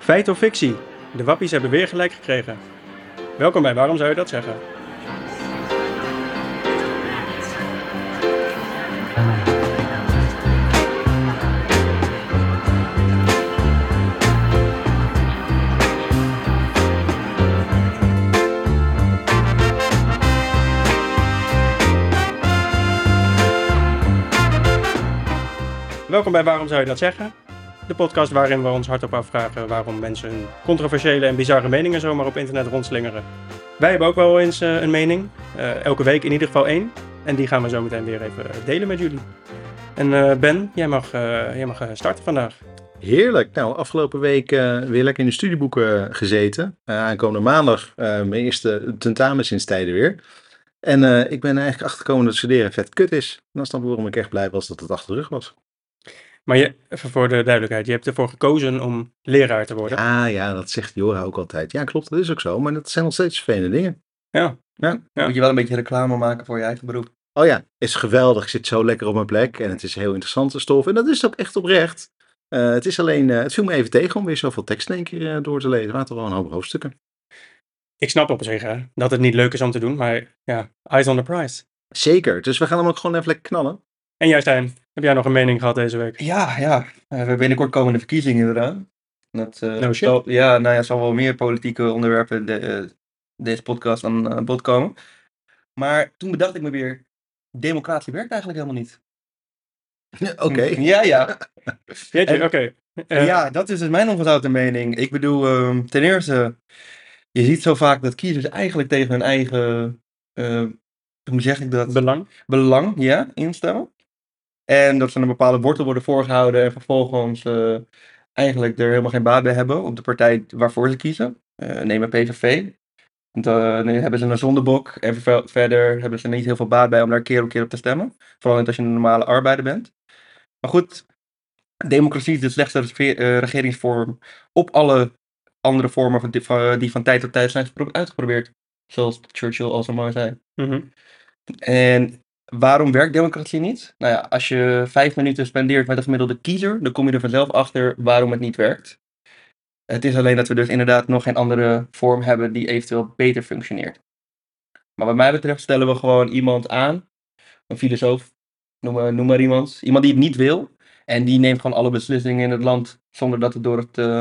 Feit of fictie? De wappies hebben weer gelijk gekregen. Welkom bij Waarom zou je dat zeggen? Welkom bij Waarom zou je dat zeggen? De podcast waarin we ons hardop afvragen waarom mensen hun controversiële en bizarre meningen zomaar op internet rondslingeren. Wij hebben ook wel eens eh, een mening, eh, elke week in ieder geval één. En die gaan we zo meteen weer even eh, delen met jullie. En eh, Ben, jij mag, eh, jij mag eh, starten vandaag. Heerlijk. Nou, afgelopen week eh, weer lekker in de studieboeken gezeten. Eh, aankomende maandag eh, mijn eerste tentamen sinds tijden weer. En eh, ik ben er eigenlijk achtergekomen dat studeren vet kut is. En dat is dan waarom ik echt blij was dat het achter de rug was. Maar je, even voor de duidelijkheid, je hebt ervoor gekozen om leraar te worden. Ah ja, dat zegt Jora ook altijd. Ja, klopt, dat is ook zo. Maar dat zijn nog steeds vervelende dingen. Ja. Ja. Moet je wel een beetje reclame maken voor je eigen beroep. Oh ja, is geweldig. Ik zit zo lekker op mijn plek. En het is heel interessante stof. En dat is ook echt oprecht. Eh, het is alleen, eh, het viel me even tegen om weer zoveel tekst in één keer eh, door te lezen. Het waren toch wel een hoop hoofdstukken. Ik snap op zich hè, dat het niet leuk is om te doen, maar ja, eyes on the prize. Zeker. Dus we gaan hem ook gewoon even lekker knallen. En jij Stijn, heb jij nog een mening gehad deze week? Ja, ja. Eh, we hebben binnenkort komende verkiezingen eraan. Dat, eh, No shit. zal- ja, nou ja, er zal wel meer politieke onderwerpen de, eh, deze podcast aan aan bod komen. Maar toen bedacht ik me weer, democratie werkt eigenlijk helemaal niet. Oké. Ja, ja. Jeetje, oké. En- Eh, ja, dat is dus mijn ongezouten mening. Ik bedoel, ehm, ten eerste, je ziet zo vaak dat kiezers eigenlijk tegen hun eigen, eh, hoe zeg ik dat? Belang. belang ja, instemmen. En dat ze een bepaalde wortel worden voorgehouden en vervolgens eh, eigenlijk er helemaal geen baat bij hebben op de partij waarvoor ze kiezen. Eh neem maar PVV. Dan eh, hebben ze een zondebok en verve- verder hebben ze er niet heel veel baat bij om daar keer op keer op te stemmen. Vooral niet als je een normale arbeider bent. Maar goed, democratie is de slechtste reve- eh, regeringsvorm op alle andere vormen van, die- van- die van tijd tot tijd zijn gepro- uitgeprobeerd. Zoals Churchill al zo mooi zei. Mhm. En waarom werkt democratie niet? Nou ja, als je vijf minuten spendeert met een gemiddelde kiezer, dan kom je er vanzelf achter waarom het niet werkt. Het is alleen dat we dus inderdaad nog geen andere vorm hebben die eventueel beter functioneert. Maar wat mij betreft stellen we gewoon iemand aan, een filosoof, noem maar, noem maar iemand, iemand die het niet wil. En die neemt gewoon alle beslissingen in het land zonder dat het door het, eh,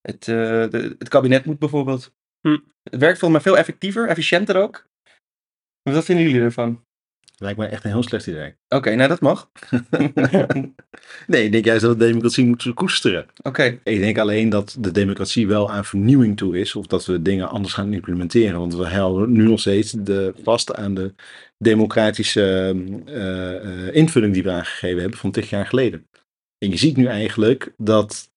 het, eh, de- het kabinet moet bijvoorbeeld. Hm. Het werkt volgens mij veel effectiever, efficiënter ook. Wat vinden jullie ervan? Lijkt me echt een heel slecht idee. Oké, nou dat mag. nee, ik denk juist dat de democratie moet koesteren. Oké, Ik denk alleen dat de democratie wel aan vernieuwing toe is. Of dat we dingen anders gaan implementeren. Want we houden nu nog steeds de, vast aan de democratische ehm, eh, eh, invulling die we aangegeven hebben van tig jaar geleden. En je ziet nu eigenlijk dat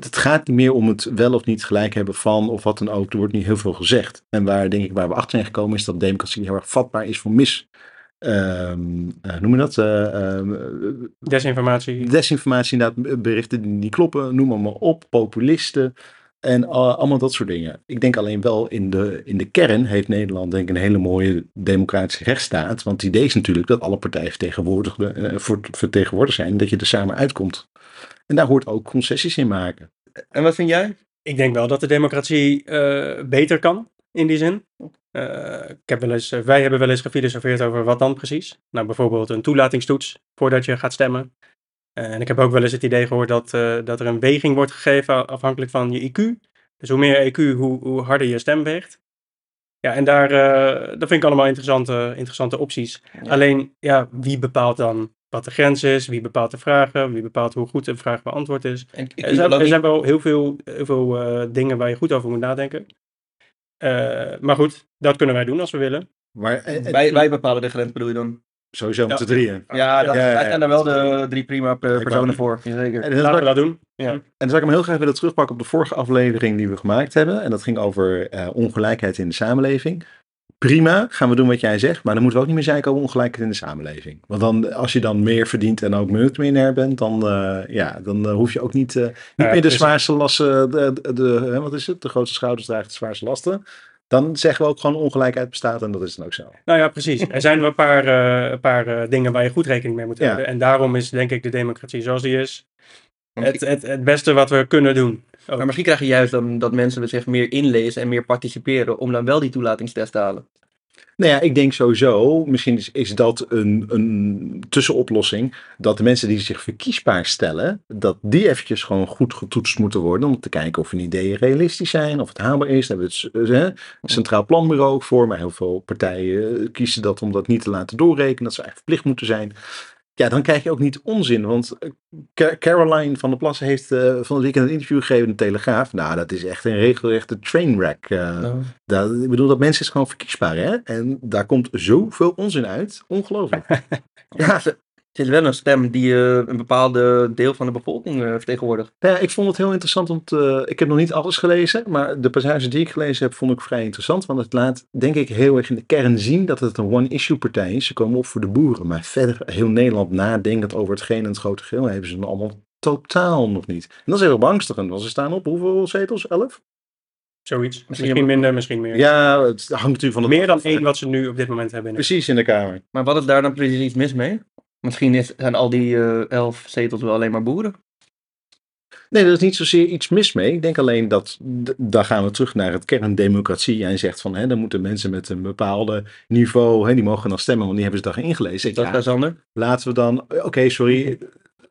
het gaat niet meer om het wel of niet gelijk hebben van of wat dan ook. Er wordt niet heel veel gezegd. En waar denk ik waar we achter zijn gekomen is dat democratie heel erg vatbaar is voor mis. ehm, eh, noem je dat? Eh, ehm, Desinformatie. desinformatie, inderdaad, berichten die niet kloppen, noem maar, maar op, populisten en eh, allemaal dat soort dingen. Ik denk alleen wel in de, in de kern heeft Nederland denk ik een hele mooie democratische rechtsstaat, want het idee is natuurlijk dat alle partijen vertegenwoordigd, eh, voor- vertegenwoordigd zijn, dat je er samen uitkomt. En daar hoort ook concessies in maken. en wat vind jij? Ik denk wel dat de democratie eh, beter kan, in die zin. Eh, ik heb wel eens, eh, wij hebben wel eens gefilosofeerd over wat dan precies. Nou, bijvoorbeeld een toelatingstoets voordat je gaat stemmen. Eh, en ik heb ook wel eens het idee gehoord dat, eh, dat er een weging wordt gegeven afhankelijk van je IQ. Dus hoe meer IQ, hoe, hoe harder je stem weegt. Ja, en daar, eh, dat vind ik allemaal interessante, interessante opties. Ja. Alleen, ja, wie bepaalt dan wat de grens is? Wie bepaalt de vragen? Wie bepaalt hoe goed een vraag beantwoord is? Ik, ik, Er zijn, geloof er niet- zijn wel heel veel, heel veel eh, dingen waar je goed over moet nadenken. Eh, maar goed, dat kunnen wij doen als we willen. Maar eh, eh, wij, wij bepalen de grens, bedoel je dan? sowieso met Ja. de drieën. Ja, dat, ja, ja, wij zijn daar wel ja. de drie prima eh, personen voor. Jazeker. En dat Laten maakt- we dat doen. En dan zou ik hem heel graag willen terugpakken op de vorige aflevering die we gemaakt hebben. En dat ging over eh, ongelijkheid in de samenleving. Prima, gaan we doen wat jij zegt. Maar dan moeten we ook niet meer zeiken over ongelijkheid in de samenleving. Want dan, als je dan meer verdient en ook multimiljonair bent, dan, eh, ja, dan eh, hoef je ook niet, eh, niet ja, meer de dus- zwaarste lasten, eh, de, de, de- hè, wat is het? De grootste schouders draagt de zwaarste lasten. Dan zeggen we ook gewoon ongelijkheid bestaat en dat is dan ook zo. Nou ja, precies. Er zijn wel een paar, eh, een paar eh, dingen waar je goed rekening mee moet Ja. houden. En daarom is denk ik de democratie zoals die is. Want het, het, het beste wat we kunnen doen. Maar misschien krijg je juist dan dat mensen zich meer inlezen en meer participeren om dan wel die toelatingstest te halen. Nou ja, ik denk sowieso, misschien is, is dat een, een tussenoplossing, dat de mensen die zich verkiesbaar stellen, dat die eventjes gewoon goed getoetst moeten worden om te kijken of hun ideeën realistisch zijn, of het hamer is. Daar hebben we het eh, Centraal Planbureau ook voor, maar heel veel partijen eh, kiezen dat om dat niet te laten doorrekenen, dat ze eigenlijk verplicht moeten zijn. Ja, dan krijg je ook niet onzin, want eh, Ca- Caroline van der Plassen heeft eh, van het weekend een interview gegeven in de Telegraaf. Nou, dat is echt een regelrechte trainwreck. eh, Oh. dat, ik bedoel, dat mensen is gewoon verkiesbaar, hè? En daar komt zoveel onzin uit. Ongelooflijk. Ja, ze, het is wel een stem die eh, een bepaalde deel van de bevolking eh, vertegenwoordigt. Nou ja, ik vond het heel interessant, want eh, ik heb nog niet alles gelezen. Maar de passage die ik gelezen heb, vond ik vrij interessant. Want het laat, denk ik, heel erg in de kern zien dat het een one-issue partij is. Ze komen op voor de boeren. Maar verder, heel Nederland nadenkend over hetgeen en het grote geheel, hebben ze dan allemaal totaal nog niet. En dat is heel beangstigend, want ze staan op hoeveel zetels? Elf? Zoiets. Misschien, hebben- minder, misschien meer. Ja, het hangt natuurlijk van de... meer dan één wat ze nu op dit moment hebben. in de- Precies in de Kamer. Maar wat is daar dan precies iets mis mee? Misschien is, zijn al die eh, elf zetels wel alleen maar boeren. Nee, er is niet zozeer iets mis mee. Ik denk alleen dat, d- daar gaan we terug naar het kerndemocratie. Jij zegt van, hè, dan moeten mensen met een bepaalde niveau, hè, die mogen dan stemmen, want die hebben ze daarin ingelezen. Ik, Dat ja, is Sander. laten we dan, eh, oké, sorry,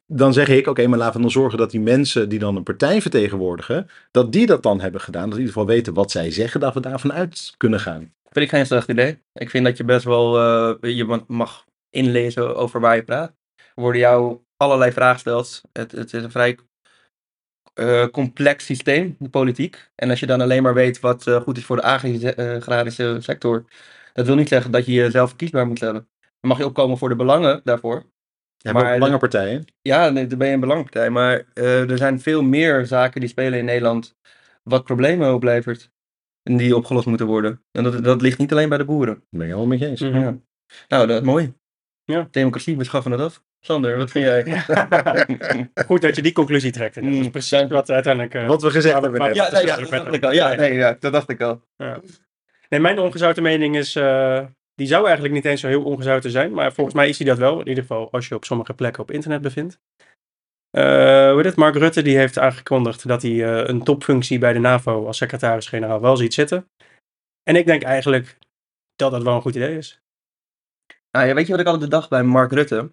dan zeg ik, oké, maar laten we dan zorgen dat die mensen die dan een partij vertegenwoordigen, dat die dat dan hebben gedaan. Dat die in ieder geval weten wat zij zeggen, dat we daarvan uit kunnen gaan. Vind ik geen slecht idee. Ik vind dat je best wel eh, je ma- mag inlezen over waar je praat. Er worden jou allerlei vragen gesteld. Het, het is een vrij eh, complex systeem, de politiek. En als je dan alleen maar weet wat eh, goed is voor de agri- eh, agrarische sector, dat wil niet zeggen dat je jezelf kiesbaar moet stellen. Dan mag je opkomen voor de belangen daarvoor. Ja, maar Maar- ook lange partijen. Ja, nee, dan ben je een belangenpartij. Maar eh, er zijn veel meer zaken die spelen in Nederland wat problemen oplevert. En die opgelost moeten worden. En dat, dat ligt niet alleen bij de boeren. Daar ben ik helemaal met je eens. Mhm. Ja. Nou, dat is mooi. Ja. Democratie, we schaffen het af. Sander, wat vind jij? Goed dat je die conclusie trekt. Dat is Mm. precies wat uiteindelijk... eh, Wat we gezegd Ja, hebben maar- net. ja. nee, dat dacht ik al. Ja, nee, ja, dat dacht ik al. Nee, mijn ongezouten mening is... eh, die zou eigenlijk niet eens zo heel ongezouten zijn. Maar volgens mij is die dat wel. In ieder geval als je op sommige plekken op internet bevindt. Eh, hoe heet het? Mark Rutte die heeft aangekondigd dat hij eh, een topfunctie bij de NAVO als secretaris-generaal wel ziet zitten. En ik denk eigenlijk dat dat wel een goed idee is. Nou, ja, weet je wat ik altijd dacht bij Mark Rutte?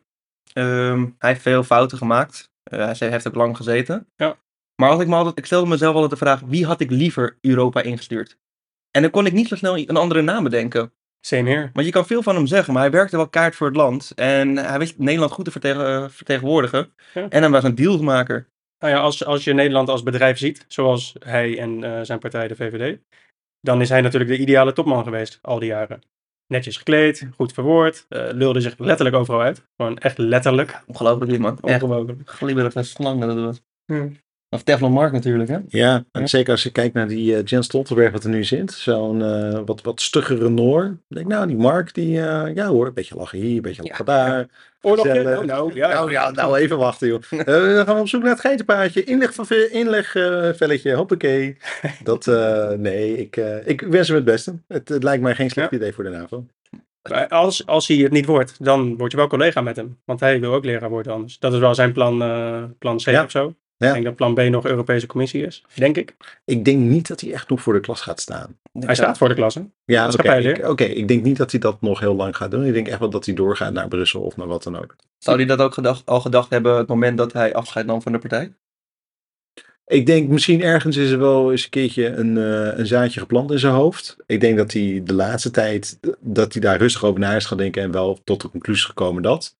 Ehm, hij heeft veel fouten gemaakt. Eh, hij zei- heeft ook lang gezeten. Ja. Maar als ik, me altijd, ik stelde mezelf altijd de vraag, wie had ik liever Europa ingestuurd? En dan kon ik niet zo snel een andere naam bedenken. Same here. Want je kan veel van hem zeggen, maar hij werkte wel kaart voor het land. En hij wist Nederland goed te vertegen- vertegenwoordigen. Ja. En hij was een dealmaker. Nou ja, als, als je Nederland als bedrijf ziet, zoals hij en eh, zijn partij, de VVD, dan is hij natuurlijk de ideale topman geweest al die jaren. Netjes gekleed, goed verwoord, eh, lulde zich letterlijk overal uit. Gewoon echt letterlijk. Ongelooflijk iemand. Echt Ongelooflijk. glibberig als slang dat het was. Ja. Of Teflon Mark natuurlijk, hè? Ja, en Ja. zeker als je kijkt naar die eh Jens Stoltenberg wat er nu zit. Zo'n eh, wat, wat stuggere Noor. Ik denk nou, die Mark, die, eh, ja hoor, een beetje lachen hier, een beetje lachen daar. Oorlogje? Gezellig. Oh, nou, ja. Nou ja, nou even wachten joh. Eh, dan gaan we op zoek naar het geitenpaardje. Inleg, van ve- inleg eh, velletje, hoppakee. Dat, eh, nee, ik, eh, ik wens hem het beste. Het, het lijkt mij geen slecht idee voor de NAVO. Maar als, als hij het niet wordt, dan word je wel collega met hem. Want hij wil ook leraar worden anders. Dat is wel zijn plan, eh, plan C Ja. of zo. Ja. Ik denk dat plan B nog Europese Commissie is, denk ik. Ik denk niet dat hij echt nog voor de klas gaat staan. Hij staat voor de klas, hè? Ja, Dat is oké. gepeiler. ik- oké, ik denk niet dat hij dat nog heel lang gaat doen. Ik denk echt wel dat hij doorgaat naar Brussel of naar wat dan ook. Zou hij dat ook gedacht, al gedacht hebben het moment dat hij afscheid nam van de partij? Ik denk misschien ergens is er wel eens een keertje een, eh, een zaadje geplant in zijn hoofd. Ik denk dat hij de laatste tijd, eh, dat hij daar rustig over na is gaan denken en wel tot de conclusie is gekomen dat.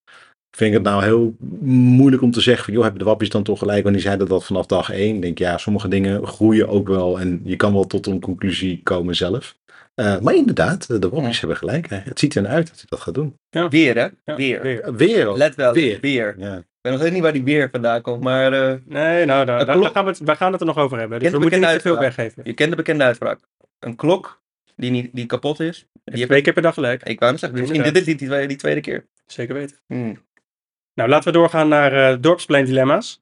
Ik vind het nou heel moeilijk om te zeggen van, joh, hebben de wappies dan toch gelijk? Want die zeiden dat vanaf dag één. Ik denk, ja, sommige dingen groeien ook wel en je kan wel tot een conclusie komen zelf. Eh, maar inderdaad, de wappies Ja. hebben gelijk. Hè. Het ziet er naar uit dat hij dat gaat doen. Weer, hè? Ja, weer. Eh, Weer. ook. Let wel, Weer. weer. Ja. Ik ben nog steeds niet waar die weer vandaan komt, maar eh, Nee, nou, daar, Het daar- klok- daar gaan we, het- wij gaan het er nog over hebben. Dus Kent we moeten niet te bekende veel uitspraak. weggeven. je kent de bekende uitspraak. Een klok die, niet, die kapot is. Die Je heeft- twee keer per dag gelijk. ik wou hem zeggen, misschien dit is die, die, tweede- die tweede keer. Zeker weten. Hmm. Nou, laten we doorgaan naar eh dorpsplein dilemma's.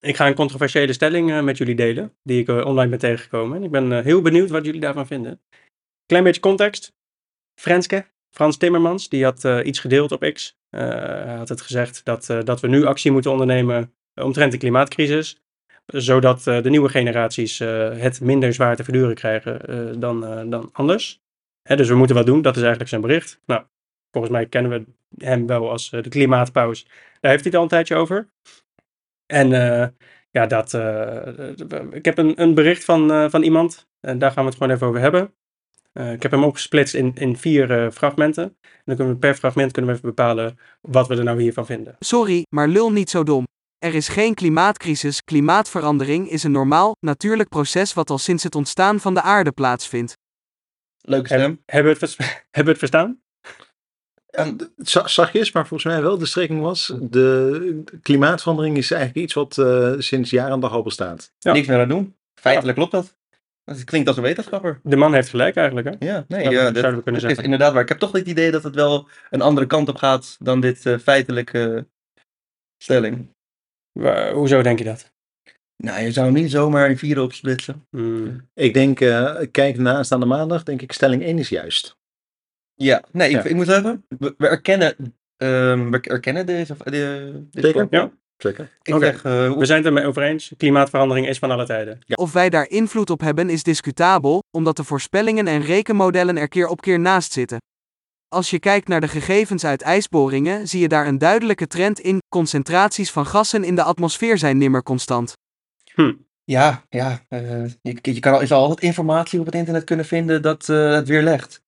Ik ga een controversiële stelling eh, met jullie delen, die ik eh, online ben tegengekomen. En ik ben eh, heel benieuwd wat jullie daarvan vinden. Klein beetje context. Frenske, Frans Timmermans, die had eh, iets gedeeld op X. Eh, hij had het gezegd dat, eh, dat we nu actie moeten ondernemen omtrent de klimaatcrisis. Zodat eh, de nieuwe generaties eh, het minder zwaar te verduren krijgen eh, dan, eh, dan anders. Hè, dus we moeten wat doen, dat is eigenlijk zijn bericht. Nou, volgens mij kennen we hem wel als eh, de klimaatpaus. Daar heeft hij het al een tijdje over. En eh, ja, dat, eh, ik heb een, een bericht van, eh, van iemand. En daar gaan we het gewoon even over hebben. Eh, ik heb hem opgesplitst in, in vier eh, fragmenten. En dan kunnen we per fragment kunnen we even bepalen wat we er nou hiervan vinden. Sorry, maar lul niet zo dom. Er is geen klimaatcrisis, klimaatverandering is een normaal, natuurlijk proces wat al sinds het ontstaan van de aarde plaatsvindt. Leuke Heb- stem. Hebben we het, vers- hebben we het verstaan? En za- zachtjes, maar volgens mij wel de strekking was, de klimaatverandering is eigenlijk iets wat eh, sinds jaren en dag al bestaat. Ja. Niks meer aan doen. Feitelijk klopt dat. Het klinkt als een wetenschapper. De man heeft gelijk eigenlijk, hè? Ja, nee, Zouden- ja, zouden we dit- kunnen dit zeggen. is inderdaad waar. Ik heb toch het idee dat het wel een andere kant op gaat dan dit eh, feitelijke stelling. Wa- hoezo denk je dat? Nou, je zou hem niet zomaar in vieren opsplitsen. Hmm. Ik denk, eh, kijk naast aan de maandag, denk ik stelling 1 is juist. Ja, nee, Ja. Ik, ik moet zeggen, we, we erkennen, ehm, we erkennen deze... De, dit Zeker? voorbeeld. Ja. Zeker. Ik Oké. zeg, eh, We zijn het ermee over eens. Klimaatverandering is van alle tijden. Of wij daar invloed op hebben is discutabel, omdat de voorspellingen en rekenmodellen er keer op keer naast zitten. Als je kijkt naar de gegevens uit ijsboringen, zie je daar een duidelijke trend in: concentraties van gassen in de atmosfeer zijn nimmer constant. Ja, ja. eh, je, je kan al, je zal altijd informatie op het internet kunnen vinden dat eh, het weer legt.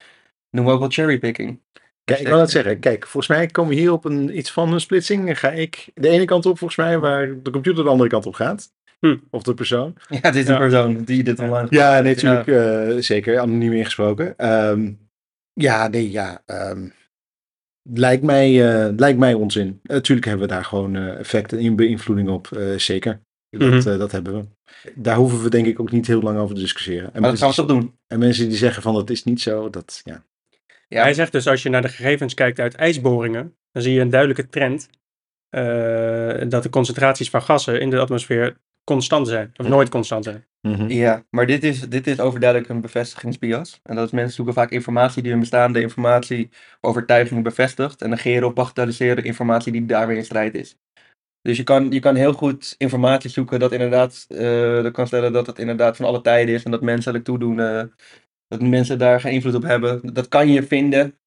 Noemen we ook wel cherrypicking. Kijk, ik wil dat zeggen. Kijk, volgens mij komen we hier op een, iets van een splitsing. Dan ga ik de ene kant op, volgens mij, waar de computer de andere kant op gaat. Hm. Of de persoon. Ja, dit is een Ja. persoon die dit online... Ja, nee, natuurlijk. eh, zeker. Anoniem ingesproken. Ehm, ja, nee, ja. ehm, lijkt, mij, eh, lijkt mij onzin. Natuurlijk hebben we daar gewoon eh, effecten in beïnvloeding op. eh, zeker. Dat, Mhm. eh, dat hebben we. Daar hoeven we denk ik ook niet heel lang over te discussiëren. En, Maar dat mensen, gaan we toch doen. en mensen die zeggen van dat is niet zo, dat ja. Ja. Hij zegt dus, als je naar de gegevens kijkt uit ijsboringen, dan zie je een duidelijke trend eh, dat de concentraties van gassen in de atmosfeer constant zijn. Of nooit constant zijn. Ja, maar dit is, dit is overduidelijk een bevestigingsbias. En dat is mensen zoeken vaak informatie die hun bestaande informatie overtuiging bevestigt. En negeren of bagatelliseren informatie die daar weer in strijd is. Dus je kan, je kan heel goed informatie zoeken dat inderdaad, eh dat kan stellen dat het inderdaad van alle tijden is. En dat mensen er toedoen, eh, dat mensen daar geen invloed op hebben. Dat kan je vinden.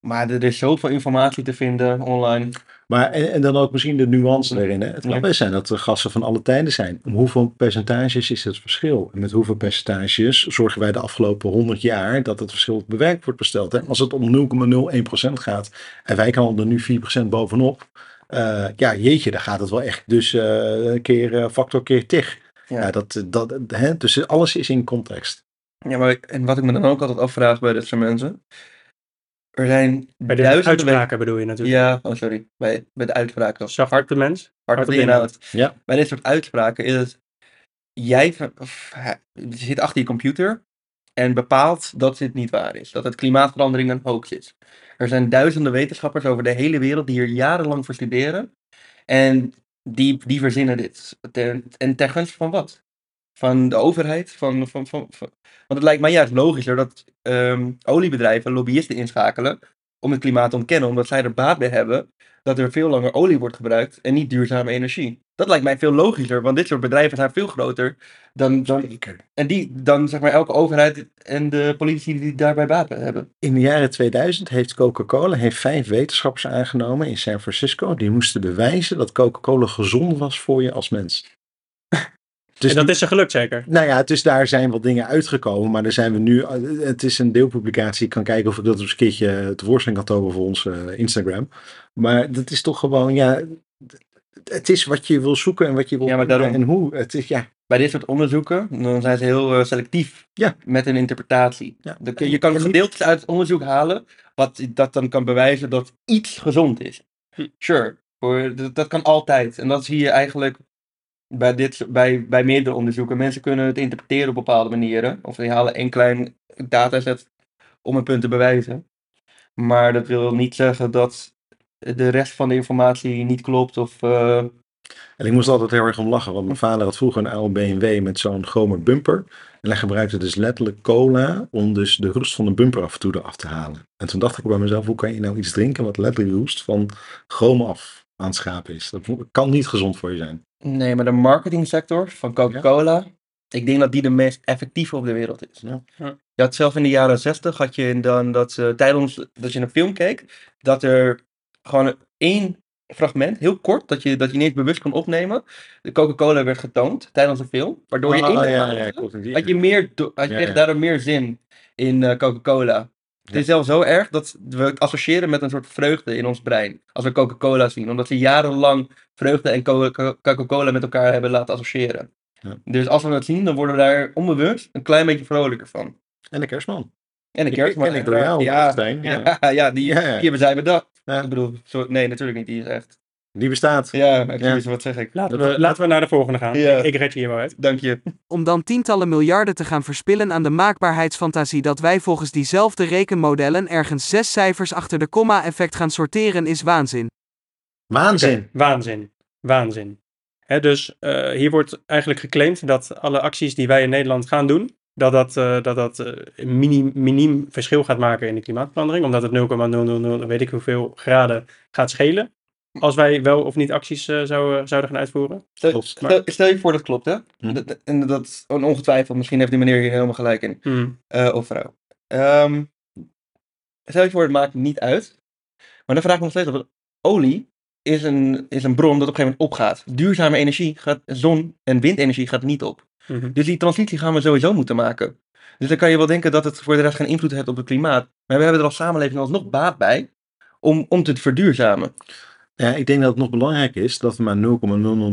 Maar er is zoveel informatie te vinden online. Maar en, en dan ook misschien de nuance erin. Hè? Het kan Ja. best zijn dat de gassen van alle tijden zijn. Om hoeveel percentages is het verschil? En met hoeveel percentages zorgen wij de afgelopen 100 jaar dat het verschil bewerkt wordt besteld? Hè? Als het om 0,01% gaat en wij komen er nu 4% bovenop. eh, ja, jeetje, dan gaat het wel echt. Dus eh, keer eh, factor keer tig. Ja. Ja. dat, dat, hè? Dus alles is in context. Ja, maar en wat ik me dan ook altijd afvraag bij dit soort mensen. Er zijn Bij de duizenden we- uitspraken bedoel je natuurlijk. Ja, oh sorry. Bij, bij de uitspraak toch? Zacht op de mens. Hard op de inhoud. Ja. Bij dit soort uitspraken is het... Jij ver- of, hij- je zit achter je computer en bepaalt dat dit niet waar is. Dat het klimaatverandering een hoax is. Er zijn duizenden wetenschappers over de hele wereld die hier jarenlang voor studeren. En die, die verzinnen dit. Ten- en ten gunste van wat? Van de overheid? Van, van, van, van- Want het lijkt mij juist logischer dat ehm, oliebedrijven lobbyisten inschakelen om het klimaat te ontkennen, omdat zij er baat bij hebben dat er veel langer olie wordt gebruikt en niet duurzame energie. Dat lijkt mij veel logischer, want dit soort bedrijven zijn veel groter dan, dan, en die, dan zeg maar elke overheid en de politici die daarbij baat bij hebben. In de jaren 2000 heeft Coca-Cola heeft vijf wetenschappers aangenomen in San Francisco. Die moesten bewijzen dat Coca-Cola gezond was voor je als mens. Dus En dat is ze gelukt zeker. nou ja, dus daar zijn wel dingen uitgekomen, maar daar zijn we nu. eh, Het is een deelpublicatie. Ik kan kijken of ik dat eens een keertje eh, tevoorschijn kan toveren voor ons eh, Instagram. Maar dat is toch gewoon, ja. Het is wat je wil zoeken en wat je wil Ja, maar daarom- en hoe. Het is, ja, Bij dit soort onderzoeken dan zijn ze heel eh, selectief Ja. met hun interpretatie. ja. Dan kun- je kan En niet- gedeeltes uit het onderzoek halen wat dat dan kan bewijzen dat iets gezond is. Hm. Sure, hoor, dat, dat kan altijd. En dat zie je eigenlijk bij, dit, so- bij, bij meerdere onderzoeken. Mensen kunnen het interpreteren op bepaalde manieren. Of die halen één klein dataset om een punt te bewijzen. Maar dat wil niet zeggen dat de rest van de informatie niet klopt of... eh, En ik moest altijd heel erg om lachen, want mijn vader had vroeger een oude BMW met zo'n chromer bumper. En hij gebruikte dus letterlijk cola om dus de roest van de bumper af en toe eraf te halen. En toen dacht ik bij mezelf, hoe kan je nou iets drinken wat letterlijk roest van chroom af aan het schapen is. Dat mo- kan niet gezond voor je zijn. Nee, maar de marketingsector van Coca-Cola, ik denk dat die de meest effectieve op de wereld is. Ja. Ja. Je had zelf in de jaren zestig, had je dan dat ze, tijdens dat je een film keek, dat er gewoon één fragment, heel kort, dat je, dat je niet eens bewust kon opnemen, de Coca-Cola werd getoond tijdens een film, waardoor je Ah, in ah, ja, ja, klopt. had je meer, do- had je Ja, kreeg ja. daardoor meer zin in eh, Coca-Cola. Het Ja. is zelfs zo erg dat we het associëren met een soort vreugde in ons brein. Als we Coca-Cola zien. Omdat we jarenlang vreugde en Co- Co- Coca-Cola met elkaar hebben laten associëren. Ja. Dus als we dat zien, dan worden we daar onbewust een klein beetje vrolijker van. En de kerstman. En de Die kerstman. ken ik door jou, Ja, Stijn. Ja. ja, ja, die, Ja, ja. die hebben zij bedacht. Ja. Ik bedoel, zo- nee, natuurlijk niet. Die is echt. Die bestaat. Ja, excuus, wat zeg ik. Laten, we, laten we naar de volgende gaan. Ja. Ik, ik red je hier wel uit. Dank je. om dan tientallen miljarden te gaan verspillen aan de maakbaarheidsfantasie dat wij volgens diezelfde rekenmodellen ergens zes cijfers achter de komma-effect gaan sorteren is waanzin. Waanzin. Waanzin. Waanzin. Hè, dus eh, hier wordt eigenlijk geclaimd dat alle acties die wij in Nederland gaan doen, dat dat, eh, dat, dat eh, een minim, miniem verschil gaat maken in de klimaatverandering, omdat het 0,000 weet ik hoeveel graden gaat schelen. Als wij wel of niet acties eh, zouden, zouden gaan uitvoeren. Stel, Klopt. stel, stel je voor dat klopt, hè? Hm. Dat- dat- En dat, ongetwijfeld, misschien heeft die meneer hier helemaal gelijk in. Hmm. eh, of vrouw. Ehm stel je voor, het maakt niet uit. Maar dan vraag ik me nog steeds af. want Olie is een, is een bron dat op een gegeven moment opgaat. Duurzame energie gaat, zon- en windenergie gaat niet op. Mhm. Dus die transitie gaan we sowieso moeten maken. Dus dan kan je wel denken dat het voor de rest geen invloed heeft op het klimaat. Maar we hebben er als samenleving alsnog baat bij om, om te verduurzamen. Ja, ik denk dat het nog belangrijk is dat we maar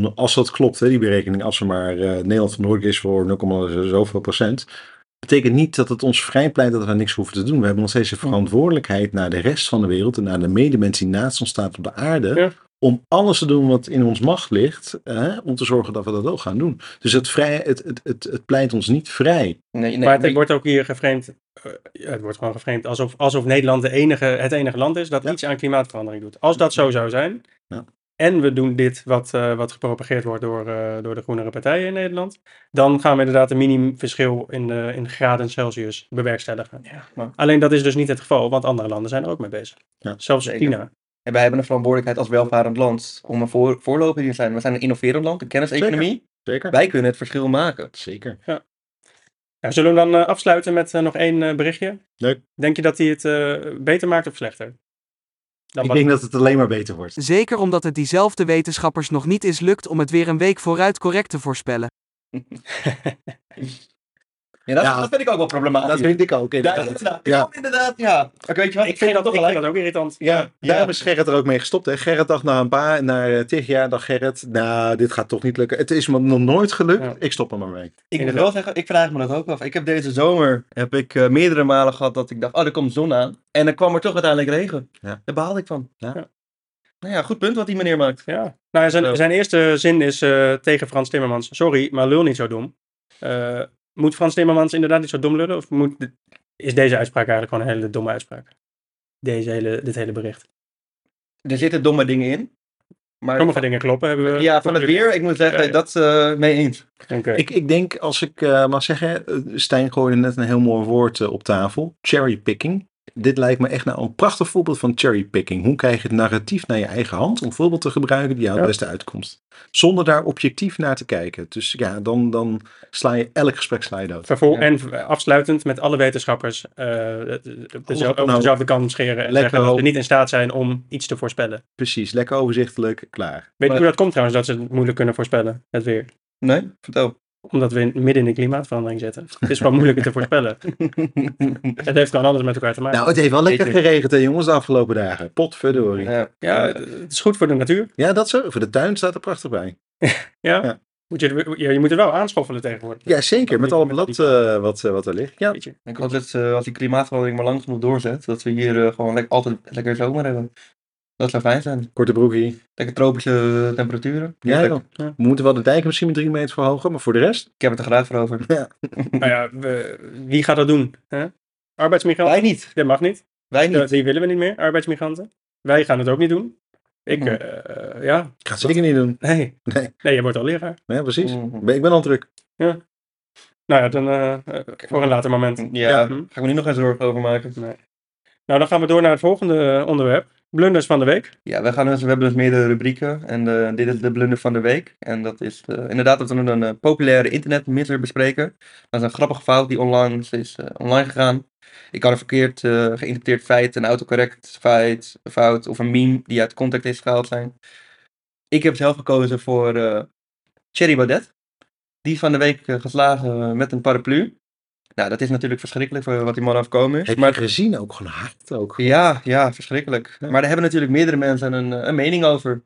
0,00, als dat klopt, hè, die berekening, als we maar eh, Nederland verantwoordelijk is voor 0,0 zoveel procent, betekent niet dat het ons vrijpleit dat we niks hoeven te doen. We hebben nog steeds een verantwoordelijkheid naar de rest van de wereld en naar de medemens die naast ons staat op de aarde, Ja. om alles te doen wat in ons macht ligt, hè, om te zorgen dat we dat ook gaan doen. Dus het, vrij, het, het, het, het pleit ons niet vrij. Nee, nee, maar het nee. wordt ook hier geframed, eh, het wordt gewoon geframed alsof, alsof Nederland de enige, het enige land is dat Ja. iets aan klimaatverandering doet. Als dat zo zou zijn, Ja. en we doen dit wat, eh, wat gepropageerd wordt door, eh, door de groenere partijen in Nederland, dan gaan we inderdaad een minimumverschil in, de- in graden Celsius bewerkstelligen. Ja, maar- Alleen dat is dus niet het geval, want andere landen zijn er ook mee bezig. Ja. Zelfs Zeker. China. En wij hebben een verantwoordelijkheid als welvarend land om een voor, voorloper te zijn. We zijn een innoverend land, een kenniseconomie. Zeker. Wij kunnen het verschil maken. Zeker. Ja, zullen we dan eh, afsluiten met eh, nog één eh, berichtje? Leuk. Denk je dat hij het eh, beter maakt of slechter? Dan Ik wat- denk dat het alleen maar beter wordt. Zeker omdat het diezelfde wetenschappers nog niet is lukt om het weer een week vooruit correct te voorspellen. Ja, dat, Ja. dat vind ik ook wel problematisch. Dat vind ik ook. Ja, inderdaad. inderdaad. Ja. Ja, inderdaad, ja. Oké, weet je wat? ik vind dat toch ik gelijk. dat ook irritant. Ja, ja. Daarom is Gerrit er ook mee gestopt. Hè? Gerrit dacht na een paar, na eh, tig jaar, dacht Gerrit, nou, dit gaat toch niet lukken. Het is me nog nooit gelukt, Ja. ik stop er maar mee. ik moet inderdaad. wel zeggen, ik vraag me dat ook af. Ik heb deze zomer heb ik, eh, meerdere malen gehad dat ik dacht, oh, er komt zon aan. En dan kwam er toch uiteindelijk regen. Ja. Daar baalde ik van. Ja. Nou ja, goed punt wat die meneer maakt. Ja. Nou, ja, Zo. zijn, zijn eerste zin is eh, tegen Frans Timmermans. Sorry, maar lul niet zo dom. Eh, moet Frans Timmermans inderdaad niet zo dom lullen? Of moet de- is deze uitspraak eigenlijk gewoon een hele domme uitspraak? Deze hele, dit hele bericht. Er zitten domme dingen in. Maar Sommige dingen kloppen hebben we. ja, van het weer, ik moet zeggen, Ja, ja. dat eh mee eens. Oké. Ik, ik denk, als ik eh, mag zeggen, eh, Stijn gooide net een heel mooi woord eh, op tafel, cherrypicking. Dit lijkt me echt nou een prachtig voorbeeld van cherrypicking. Hoe krijg je het narratief naar je eigen hand om een voorbeeld te gebruiken die jou het Ja. beste uitkomt. Zonder daar objectief naar te kijken. Dus ja, dan, dan sla je elk gesprek sla je dood. Vervol- Ja. En v- afsluitend met alle wetenschappers eh, het- het- op deze- het over nou- dezelfde kam scheren en Lekker zeggen dat hoop. ze niet in staat zijn om iets te voorspellen. Precies, lekker overzichtelijk, klaar. Weet je Maar- hoe dat komt trouwens, dat ze het moeilijk kunnen voorspellen, het weer? Nee, vertel. Omdat we in- midden in de klimaatverandering zitten. Het is gewoon moeilijker te voorspellen. Het heeft gewoon alles met elkaar te maken. Nou, het heeft wel lekker Beter. geregend, hè, jongens, de afgelopen dagen. Potverdorie. ja. ja, het- het is goed voor de natuur. Ja, dat zo. Voor de tuin staat er prachtig bij. Ja? Ja. Moet je, er- ja, je moet er wel aanschoffelen tegenwoordig. Ja, zeker. Met al Met blad die- eh, wat, eh, wat er ligt. Ja, Weet je. Ik hoop dat eh, als die klimaatverandering maar lang genoeg doorzet, dat we hier eh, gewoon lekker altijd lekker zomer hebben. Dat zou fijn zijn. korte broekie. Lekker tropische eh, temperaturen. Ja, Heerlijk. joh. Ja. We moeten wel de dijken misschien met drie meter verhogen, maar voor de rest? Ik heb het er graag voor over. Nou ja, we- wie gaat dat doen? Hè? Arbeidsmigranten? Wij niet. Dat mag niet. Wij niet. Eh, Die willen we niet meer, arbeidsmigranten. Wij gaan het ook niet doen. Ik, Mhm. eh, eh, ja, Ik ga het zeker niet doen. nee. Nee. Nee, je wordt al leraar. Ja, precies. Mm. Mhm. Ik ben al druk. Nou ja, dan eh, eh, voor een later moment. Ja, Ja. ga ik me nu nog geen zorgen over maken. Nou, dan gaan we door naar het volgende eh, onderwerp. Blunders van de week. Ja, we, gaan dus, we hebben dus meerdere rubrieken. En eh, dit is de blunder van de week. En dat is eh, inderdaad dat we een eh, populaire internetmisser bespreken. Dat is een grappige fout die onlangs is eh, online gegaan. Ik kan een verkeerd eh, geïnterpreteerd feit, een autocorrect feit, fout of een meme die uit context is gehaald zijn. Ik heb zelf gekozen voor eh Thierry Baudet. Die is van de week eh, geslagen eh, met een paraplu. Nou, dat is natuurlijk verschrikkelijk voor wat die man afkomen is. Heb je maar- gezien ook? Gewoon hard ook. ja, ja, verschrikkelijk. Maar daar hebben natuurlijk meerdere mensen een, eh, een mening over.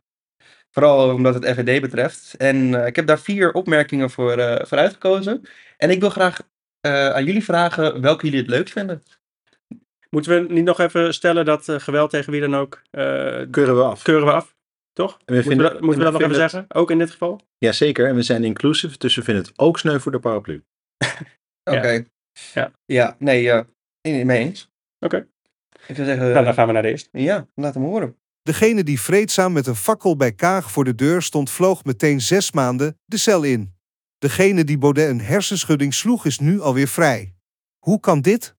Vooral omdat het FVD betreft. En eh, ik heb daar vier opmerkingen voor, eh, voor uitgekozen. En ik wil graag eh, aan jullie vragen welke jullie het leuk vinden. Moeten we niet nog even stellen dat eh, geweld tegen wie dan ook, eh, Keuren we af. keuren we af? Toch? we moeten vinden- we dat, moeten we en dat we nog even vinden- zeggen? Ook in dit geval? Jazeker, en we zijn inclusief, dus we vinden het ook sneu voor de paraplu. Ja. Oké. Ja. ja, nee, ja. In, mee eens. Oké. Ik zou zeggen, Nou, dan gaan we naar de eerste. ja, laat hem horen. Degene die vreedzaam met een fakkel bij Kaag voor de deur stond, vloog meteen zes maanden de cel in. Degene die Baudet een hersenschudding sloeg, is nu alweer vrij. Hoe kan dit?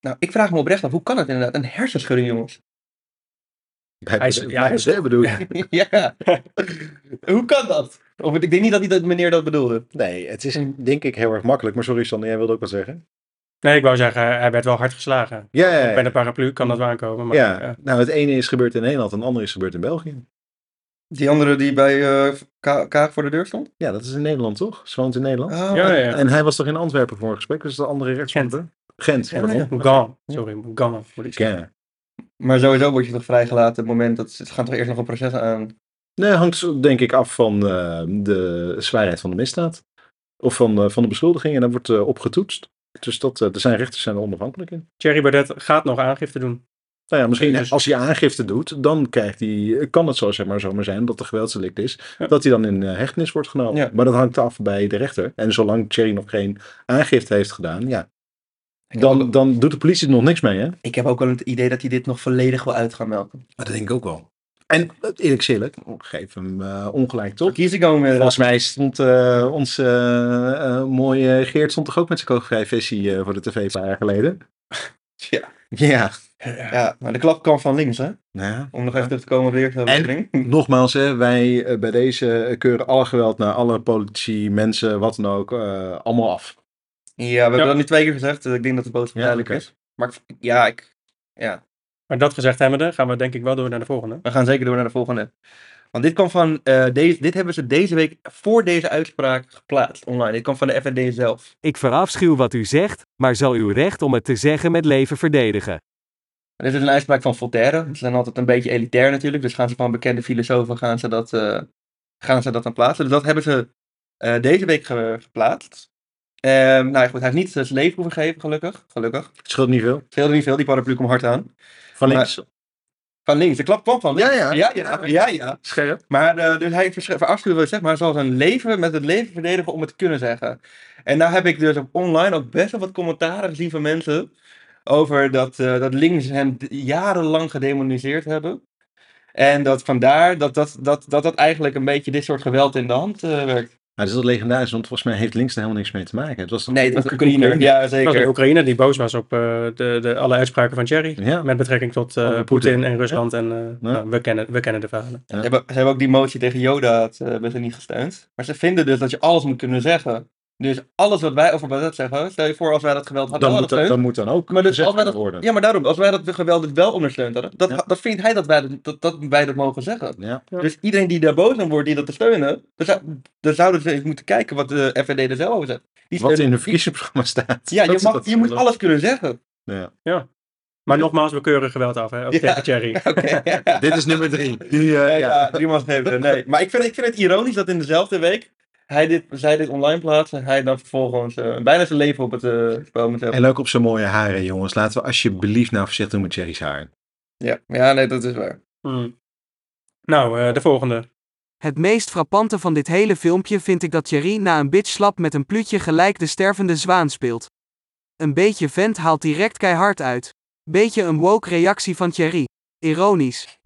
Nou, ik vraag me oprecht af, hoe kan het inderdaad? Een hersenschudding, jongens. Bij Hij is- Baudet- ja, hij bij is- Baudet bedoel je? ja. hoe kan dat? Of, ik denk niet dat die dat meneer dat bedoelde. Nee, het is denk ik heel erg makkelijk. Maar sorry, Sander, jij wilde ook wat zeggen? Nee, ik wou zeggen, hij werd wel hard geslagen. Ja, ja, Bij de ja. paraplu kan dat wel aankomen. Maar, ja. eh, Nou, het ene is gebeurd in Nederland en het andere is gebeurd in België. Die andere die bij eh, Ka- Kaag voor de deur stond? Ja, dat is in Nederland, toch? Ze woont in Nederland. Oh, ja, ja. En hij was toch in Antwerpen voor een gesprek? Dus de andere rechtsgrond, Gent. hè? Gent, Ja, pardon. ja. Gone. Sorry, Gone. moet ik zeggen. Ja. Maar sowieso word je toch vrijgelaten op het moment dat ze ze gaan toch eerst nog een proces aan. Nee, hangt denk ik af van eh, de zwaarheid van de misdaad. Of van, eh, van de beschuldiging. En dat wordt eh, opgetoetst. Dus dat, eh, er zijn rechters zijn er onafhankelijk in. Thierry Baudet gaat nog aangifte doen. Nou ja, misschien Dus- als hij aangifte doet, dan krijgt hij, kan het zo zeg maar, zomaar zijn dat er geweldsdelict is, Ja. dat hij dan in eh, hechtenis wordt genomen. Ja. Maar dat hangt af bij de rechter. En zolang Thierry nog geen aangifte heeft gedaan, ja, Ik heb, dan, ook, dan doet de politie er nog niks mee, hè? ik heb ook wel het idee dat hij dit nog volledig wil uit gaan melken. Dat denk ik ook wel. En eh, eerlijk gezegd, geef hem eh, ongelijk, toch? Kies ik hem inderdaad. Volgens mij stond eh ons eh, eh, mooie Geert stond toch ook met zijn kookvrij visie eh, voor de tv een paar jaar geleden? Ja. Ja. Ja, maar de klap kan van links, hè? Nou, Om nog even terug te komen op de eerste aflevering. Nogmaals, hè, wij eh, bij deze keuren alle geweld naar alle politici, mensen, wat dan ook, eh, allemaal af. Ja, we hebben Ja. dat nu twee keer gezegd. dus ik denk dat de boodschap Ja, duidelijk oké. is. Maar ik- ja, ik, ja, Maar dat gezegd hebbende, gaan we denk ik wel door naar de volgende. we gaan zeker door naar de volgende. Want dit kwam van, eh, deze, dit hebben ze deze week voor deze uitspraak geplaatst online. Dit kwam van de FND zelf. Ik verafschuw wat u zegt, maar zal uw recht om het te zeggen met leven verdedigen. Dit is een uitspraak van Voltaire. Ze zijn altijd een beetje elitair natuurlijk. Dus gaan ze van bekende filosofen gaan ze dat, eh, gaan ze dat dan plaatsen. Dus dat hebben ze eh, deze week ge- geplaatst. Ehm, nou ja, goed, hij heeft niet zijn leven hoeven geven, gelukkig. Gelukkig. Het scheelt niet veel. Het scheelde niet veel, die paraplu kwam hard aan. Van Maar- links. Van links, de klap kwam van links. Ja, ja. ja, ja, ja, ja. Scherp. Maar eh, dus hij versch- verafschuwt wat ik zeg, maar hij zal zijn leven met het leven verdedigen om het te kunnen zeggen. En nou heb ik dus op online ook best wel wat commentaren gezien van mensen over dat, eh, dat links hem d- jarenlang gedemoniseerd hebben. En dat vandaar dat dat, dat, dat, dat eigenlijk een beetje dit soort geweld in de hand eh, werkt. Maar dat Nou, is wel legendarisch, want volgens mij heeft links er helemaal niks mee te maken. Het was toch- Nee, dat was een Oekraïner. Ja, Dat was de zeker. Oekraïne die boos was op eh, de, de, alle uitspraken van Thierry. Ja. Met betrekking tot eh, Oh, Poetin. Poetin en Rusland. En eh, Ja. nou, we, kennen, we kennen de verhalen. Ze hebben, ze hebben ook die motie tegen Joda het, eh, hebben ze niet gesteund. Maar ze vinden dus dat je alles moet kunnen zeggen. Dus alles wat wij over dat zeggen, stel je voor als wij dat geweld hadden Dan, moet dat, ondersteund. dan moet dan ook Maar dus gezegd als wij dat- worden. Ja, maar daarom, als wij dat geweld dus wel ondersteund hadden, dat, Ja. dat vindt hij dat wij dat, dat, dat wij dat mogen zeggen. Ja. Ja. Dus iedereen die daar boos om wordt, die dat te steunen, dan, zou- dan zouden ze eens moeten kijken wat de FND er zelf over zegt. Die Wat steunen- in hun die- verkiezingsprogramma staat. Ja, je, Dat- mag, dat- je moet alles kunnen zeggen. Ja. Maar nogmaals, we keuren geweld af. Hè? Ook Ja. tegen Thierry. Oké. ja. Dit is nummer drie. Die, eh, Ja, ja. ja, drie maal gegeven. Nee. Maar ik vind, ik vind het ironisch dat in dezelfde week hij dit, zij dit online plaatsen, hij dan vervolgens eh, bijna zijn leven op het eh, spel moet hebben. En ook op zijn mooie haren, jongens. Laten we alsjeblieft nou voorzichtig doen met Jerry's haar. Ja. ja, nee, dat is waar. Mm. Nou, eh, de volgende. Het meest frappante van dit hele filmpje vind ik dat Thierry na een bitchslap met een pluutje gelijk de stervende zwaan speelt. Een beetje vent haalt direct keihard uit. Beetje een woke reactie van Thierry. Ironisch.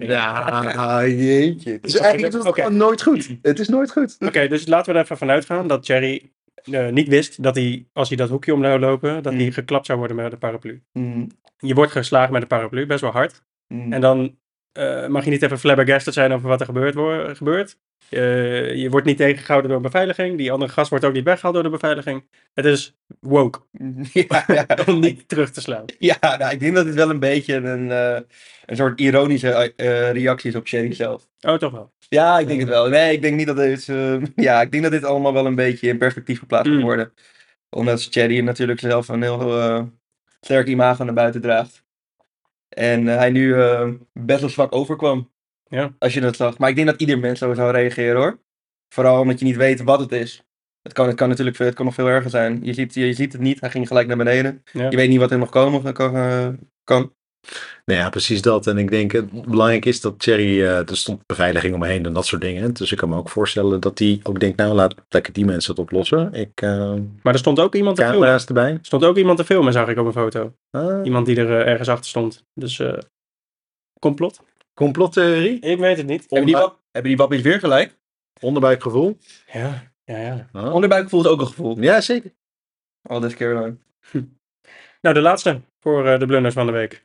Ja, jeetje. Dus eigenlijk is het gewoon nooit goed. Het is nooit goed. Oké, dus laten we er even vanuit gaan dat Thierry eh, niet wist dat hij, als hij dat hoekje om zou lopen, dat Mm. hij geklapt zou worden met de paraplu. Mm, Je wordt geslagen met een paraplu, best wel hard. Mm. En dan eh, mag je niet even flabbergasted zijn over wat er gebeurd wo- gebeurt. Eh, je wordt niet tegengehouden door beveiliging. Die andere gast wordt ook niet weggehaald door de beveiliging. Het is woke ja, ja. om niet terug te slaan. Ja, nou, ik denk dat dit wel een beetje een, eh, een soort ironische eh, eh, reactie is op Sherry zelf. Oh, toch wel. Ja, ik denk het wel. Nee, ik denk niet dat dit, eh, ja, ik denk dat dit allemaal wel een beetje in perspectief geplaatst moet Mm. worden. Omdat Sherry natuurlijk zelf een heel eh, sterk imago naar buiten draagt. En eh, hij nu eh, best wel zwak overkwam. Ja. Als je dat zag. Maar ik denk dat ieder mens zo zou reageren hoor. Vooral omdat je niet weet wat het is. Het kan, het kan natuurlijk het kan nog veel erger zijn. Je ziet, je, ziet het niet, hij ging gelijk naar beneden. Ja. Je weet niet wat er nog komen kan. eh, kan. Nou ja, precies dat. En ik denk, het belangrijk is dat Thierry, eh, er stond beveiliging omheen en dat soort dingen. Dus ik kan me ook voorstellen dat hij ook denkt, nou laat lekker die mensen het oplossen. Ik, eh, Maar er stond ook iemand te filmen. Er camera's erbij. stond ook iemand te filmen, zag ik op een foto. Ah, Iemand die er eh, ergens achter stond. Dus eh, complot? complottheorie, Ik weet het niet. Hebben die, wap- hebben die wappies weer gelijk? onderbuikgevoel. Ja, ja, ja. Ah. Onderbuik voelt ook een gevoel. Ja, zeker. Al deze keer lang. Nou, de laatste voor eh, de blunders van de week.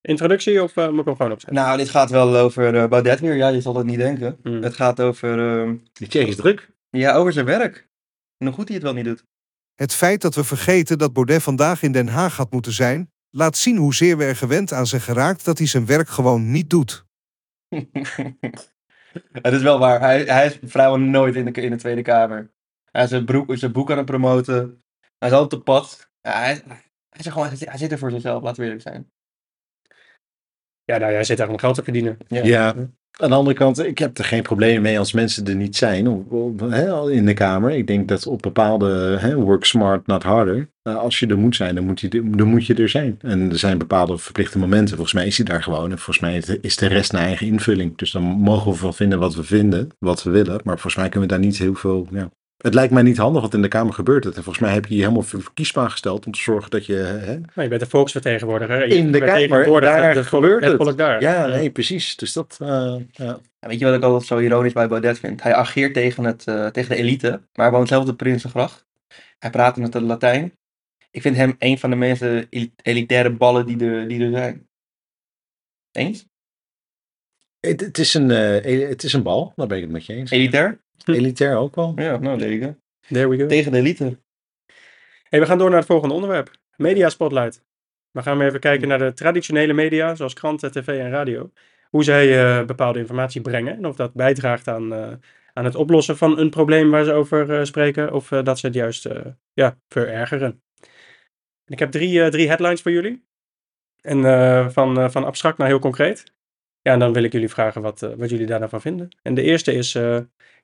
Introductie of eh, moet ik hem gewoon opzetten? Nou, dit gaat wel over eh, Baudet weer. Ja, je zal dat niet denken. Hmm. Het gaat over, ehm, Die Thierry is druk. ja, over zijn werk. En hoe goed hij het wel niet doet. Het feit dat we vergeten dat Baudet vandaag in Den Haag had moeten zijn, laat zien hoezeer we er gewend aan zijn geraakt dat hij zijn werk gewoon niet doet. het is wel waar. Hij, hij is vrijwel nooit in de, in de Tweede Kamer. Hij is zijn, broek, zijn boek aan het promoten. Hij is altijd op pad. Ja, hij, hij, is er gewoon, hij zit er voor zichzelf, laten we eerlijk zijn. Ja, nou, jij zit daar om geld te verdienen. Ja. Ja. Aan de andere kant, ik heb er geen probleem mee als mensen er niet zijn om- om- hè, al in de Kamer. Ik denk dat op bepaalde hè, work smart, not harder. eh, als je er moet zijn, dan moet, je, er- dan moet je er zijn. En er zijn bepaalde verplichte momenten. Volgens mij is hij daar gewoon. En volgens mij is- is de rest naar eigen invulling. Dus dan mogen we van vinden wat we vinden, wat we willen. Maar volgens mij kunnen we daar niet heel veel. Ja. Het lijkt mij niet handig wat in de Kamer gebeurt. En volgens mij heb je je helemaal verkiesbaar gesteld om te zorgen dat je. Hè, Maar Nou, je bent een volksvertegenwoordiger. en je in de Kamer, vertegenwoordigt daar het- het volk- gebeurt het het. volk daar. Ja, nee, precies. Dus dat. eh, ja. Ja, Weet je wat ik altijd zo ironisch bij Baudet vind? Hij ageert tegen, het, eh, tegen de elite, maar hij woont zelf op de Prinsengracht. Hij praat in het Latijn. Ik vind hem een van de meest eh, eli- elitaire ballen die er, die er zijn. Eens? Het, het is een, eh, el- het is een bal, daar ben ik het met je eens. Elitair? Elitair ook wel. Ja, nou, there you go. There we go. Tegen de elite. Hey, we gaan door naar het volgende onderwerp. Media Spotlight. We gaan weer even kijken naar de traditionele media, zoals kranten, tv en radio. Hoe zij eh, bepaalde informatie brengen en of dat bijdraagt aan, eh, aan het oplossen van een probleem waar ze over eh, spreken. Of eh, dat ze het juist eh, ja, verergeren. En ik heb drie, eh, drie headlines voor jullie. En eh, van, eh, van abstract naar heel concreet. Ja, en dan wil ik jullie vragen wat, eh, wat jullie daar nou van vinden. En de eerste is eh,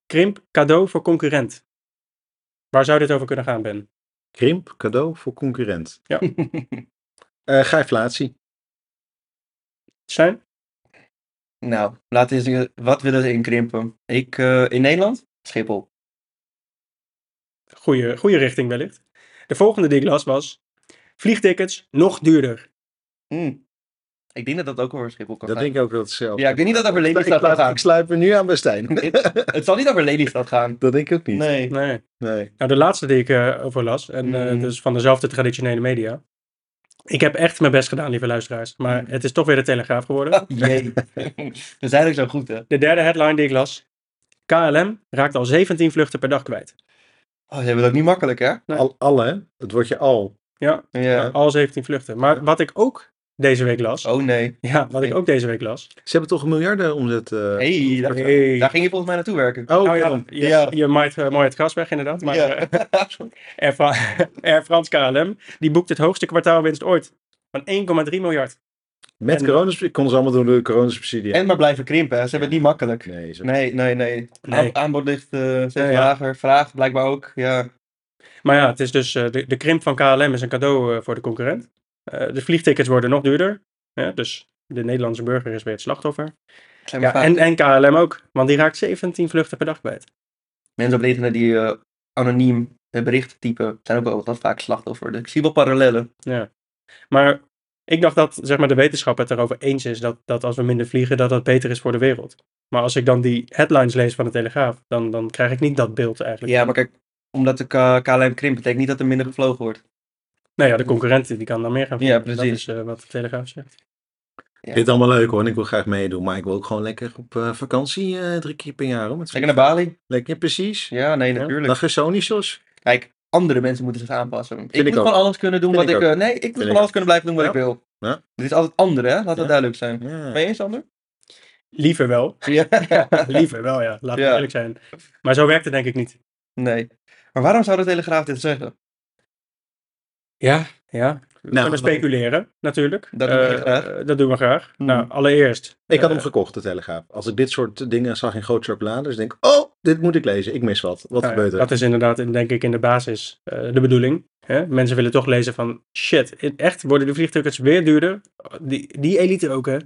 krimp cadeau voor concurrent. Waar zou dit over kunnen gaan, Ben? Krimp, cadeau voor concurrent. Ja. Eh grijflatie. Stijn? nou, laten we eens, wat willen ze inkrimpen? Ik, eh, in Nederland? Schiphol. Goeie, goeie richting wellicht. De volgende die ik las was... Vliegtickets nog duurder. Mm. Ik denk dat dat ook over Schiphol kan Dat gaan. denk ik ook wel hetzelfde. Ja, ik denk niet dat het over ik, Lelystad kan sluit, gaan. ik sluit me nu aan bij Stijn. Het zal niet over Lelystad gaan. dat denk ik ook niet. Nee. Nee. Nee. Nou, de laatste die ik eh, over las. En eh, Mm. dus van dezelfde traditionele media. Ik heb echt mijn best gedaan, lieve luisteraars. Maar Mhm. het is toch weer de Telegraaf geworden. Jee. We zijn ook zo goed, hè? De derde headline die ik las. KLM raakt al 17 vluchten per dag kwijt. Oh, ze hebben het ook niet makkelijk, hè? Nee. Al, alle, hè? het woordje al. Ja, Ja. al 17 vluchten. Maar wat ik ook deze week las. Oh, nee. Ja, wat ik ook deze week las. Ze hebben toch een miljarden omzet. eh, Hey, daar, Hey. daar ging je volgens mij naartoe werken. Oh, nou ja, pardon. je, Ja. je maait eh, mooi het gras weg inderdaad. Maar eh, ja. Air, Fra- Air France KLM, die boekt het hoogste kwartaalwinst ooit. Van 1,3 miljard. Met en- coronasubsidie. Konden ze allemaal door de coronasubsidie. en maar blijven krimpen, hè. ze hebben het niet makkelijk. Nee, zo. Nee, nee, nee. Nee. Aan- aanbod ligt eh steeds Ja, ja. lager, vraag blijkbaar ook. Ja. Maar ja, het is dus, eh, de, de krimp van KLM is een cadeau eh, voor de concurrent. Eh, de vliegtickets worden nog duurder. Ja, dus de Nederlandse burger is weer het slachtoffer. Zijn Ja, ja en, en KLM ook, want die raakt 17 vluchten per dag kwijt. Mensen op het internet die eh, anoniem eh, berichten typen, zijn ook wel wat vaak slachtoffer. Dus ik zie wel parallellen. Maar ik dacht dat zeg maar, de wetenschap het erover eens is dat, dat als we minder vliegen, dat dat beter is voor de wereld. Maar als ik dan die headlines lees van de Telegraaf, dan, dan krijg ik niet dat beeld eigenlijk. Ja, maar kijk, omdat de K- KLM krimpt, betekent niet dat er minder gevlogen wordt. Nou ja, de concurrent die kan dan meer gaan Ja, vliegen. Dat precies. is eh, wat de Telegraaf zegt. Ja. Dit is allemaal leuk hoor, en ik wil graag meedoen. Maar ik wil ook gewoon lekker op eh, vakantie eh, drie keer per jaar. Hoor, met Lekker naar Bali. Lekker, precies. Ja, nee, Ja, natuurlijk. Dag Sonisos. Kijk, andere mensen moeten zich aanpassen. ik ik moet ook. gewoon alles kunnen doen Vind wat ik ik... ook. eh, nee, ik moet ik gewoon ook. alles kunnen blijven doen wat Ja. ik wil. Ja. Dit is altijd andere, hè? Laat dat Ja. duidelijk zijn. Ben Ja. Nou, je eens, Sander? Liever wel. Ja. Liever wel, ja. Laten we Ja. eerlijk zijn. Maar zo werkt het denk ik niet. nee. Maar waarom zou de Telegraaf dit zeggen? Ja, ja. We Nou, kunnen speculeren, natuurlijk. Dat doen we Eh, graag. eh, dat doen we graag. Hmm. Nou, allereerst. Ik had hem eh, gekocht, de Telegraaf. Als ik dit soort dingen zag in groot chocolade, dus denk ik, oh, dit moet ik lezen. Ik mis wat. Wat nou ja, gebeurt er? Dat is inderdaad, in- denk ik, in de basis eh, de bedoeling. Hè? Mensen willen toch lezen van, shit, in echt worden de vliegtickets weer duurder. Die, die elite ook, hè.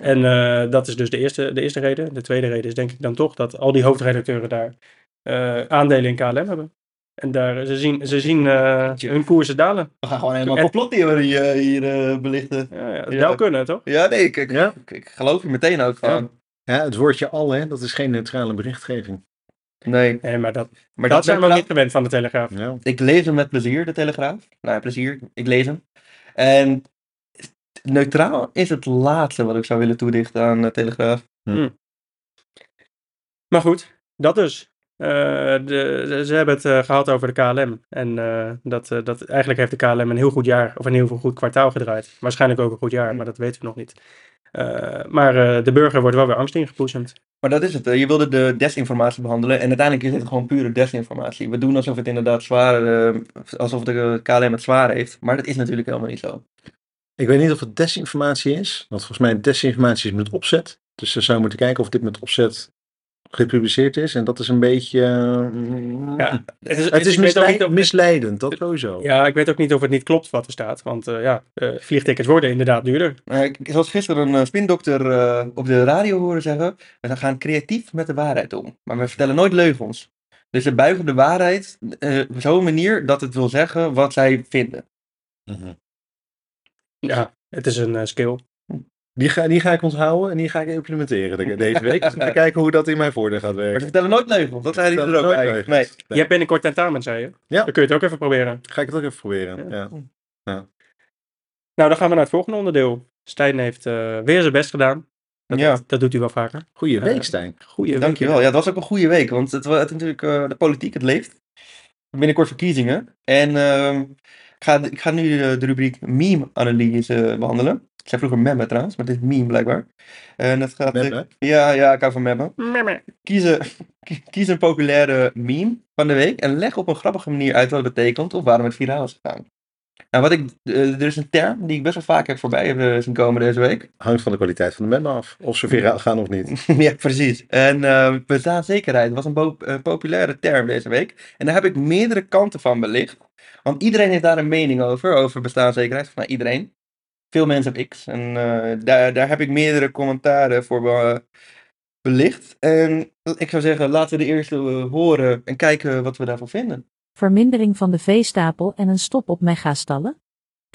En eh, dat is dus de eerste, de eerste reden. De tweede reden is denk ik dan toch dat al die hoofdredacteuren daar eh, aandelen in KLM hebben. En daar, ze zien, ze zien eh, hun koersen dalen. We gaan gewoon helemaal Echt? complottheorie eh, hier eh, belichten. Ja, ja, dat Ja. zou kunnen, toch? Ja, nee, ik, ik, Ja. ik, ik geloof je meteen ook van. Ja, het woordje al, hè, dat is geen neutrale berichtgeving. Nee. Nee, maar dat, Maar dat zijn we nou- niet gewend van de Telegraaf. Ja. ik lees hem met plezier, de Telegraaf. Nou, ja, plezier, ik lees hem. En neutraal is het laatste wat ik zou willen toedichten aan de Telegraaf. Maar goed, dat dus. Eh, de, de- ze hebben het eh, gehad over de KLM. En eh, dat, eh, dat, eigenlijk heeft de KLM een heel goed jaar, of een heel goed kwartaal gedraaid. Waarschijnlijk ook een goed jaar, maar dat weten we nog niet. Eh, maar eh, de burger wordt wel weer angst ingepoezemd. Maar dat is het. eh, Je wilde de desinformatie behandelen. En uiteindelijk is het gewoon pure desinformatie. We doen alsof het inderdaad zwaar, eh, alsof de KLM het zwaar heeft. Maar dat is natuurlijk helemaal niet zo. Ik weet niet of het desinformatie is, want volgens mij desinformatie is met opzet. Dus ze zouden moeten kijken of dit met opzet gepubliceerd is. En dat is een beetje... eh, Ja, Het is, Het is ik weet ook mislei- niet of- misleidend, dat sowieso. Ja, ik weet ook niet of het niet klopt wat er staat. Want eh, ja, eh, vliegtickets worden inderdaad duurder. Maar ik, zoals gisteren een eh, spindokter eh, op de radio horen zeggen, we gaan creatief met de waarheid om. Maar we vertellen nooit leugens. Dus ze buigen de waarheid eh, op zo'n manier dat het wil zeggen wat zij vinden. Mhm. Ja, het is een eh, skill. Die, ga, die ga ik onthouden en die ga ik implementeren de- deze week. Dus Even kijken hoe dat in mijn voordeel gaat Maar werken. ze vertellen nooit leugens, dat zei hij Vertel er ook nooit eigenlijk. Nee. leugens. Je hebt binnenkort tentamen, zei je. Ja. Dan kun je het ook even proberen. Ga ik het ook even proberen. Ja. Nou, dan gaan we naar het volgende onderdeel. Stijn heeft eh, weer zijn best gedaan. Dat, Ja. dat doet hij wel vaker. Goeie Ja. week, Stijn. Goeie Dankjewel. Ja, het was ook een goede week, want het, wa- het is natuurlijk eh, de politiek, het leeft. Binnenkort verkiezingen. En ehm, ik, ga, ik ga nu eh, de rubriek meme-analyse eh, behandelen. Ik zei vroeger memme trouwens, maar dit is meme blijkbaar. En dat gaat... eh, Memme? Ja, ja, ik hou van memme. Memme. Kies een, kies een populaire meme van de week en leg op een grappige manier uit wat het betekent of waarom het viraal is gegaan. Nou, wat ik, eh, er is een term die ik best wel vaak heb voorbij hebben zien komen deze week. Hangt van de kwaliteit van de mem af. Of ze viraal gaan of niet. ja, precies. En eh, bestaanszekerheid was een bo- eh, populaire term deze week. En daar heb ik meerdere kanten van belicht. Want iedereen heeft daar een mening over, over bestaanszekerheid. Of, Nou, iedereen. Veel mensen op X. En eh, daar, daar heb ik meerdere commentaren voor be- belicht. En ik zou zeggen, laten we de eerste eh, horen en kijken wat we daarvan vinden. vermindering van de veestapel en een stop op megastallen?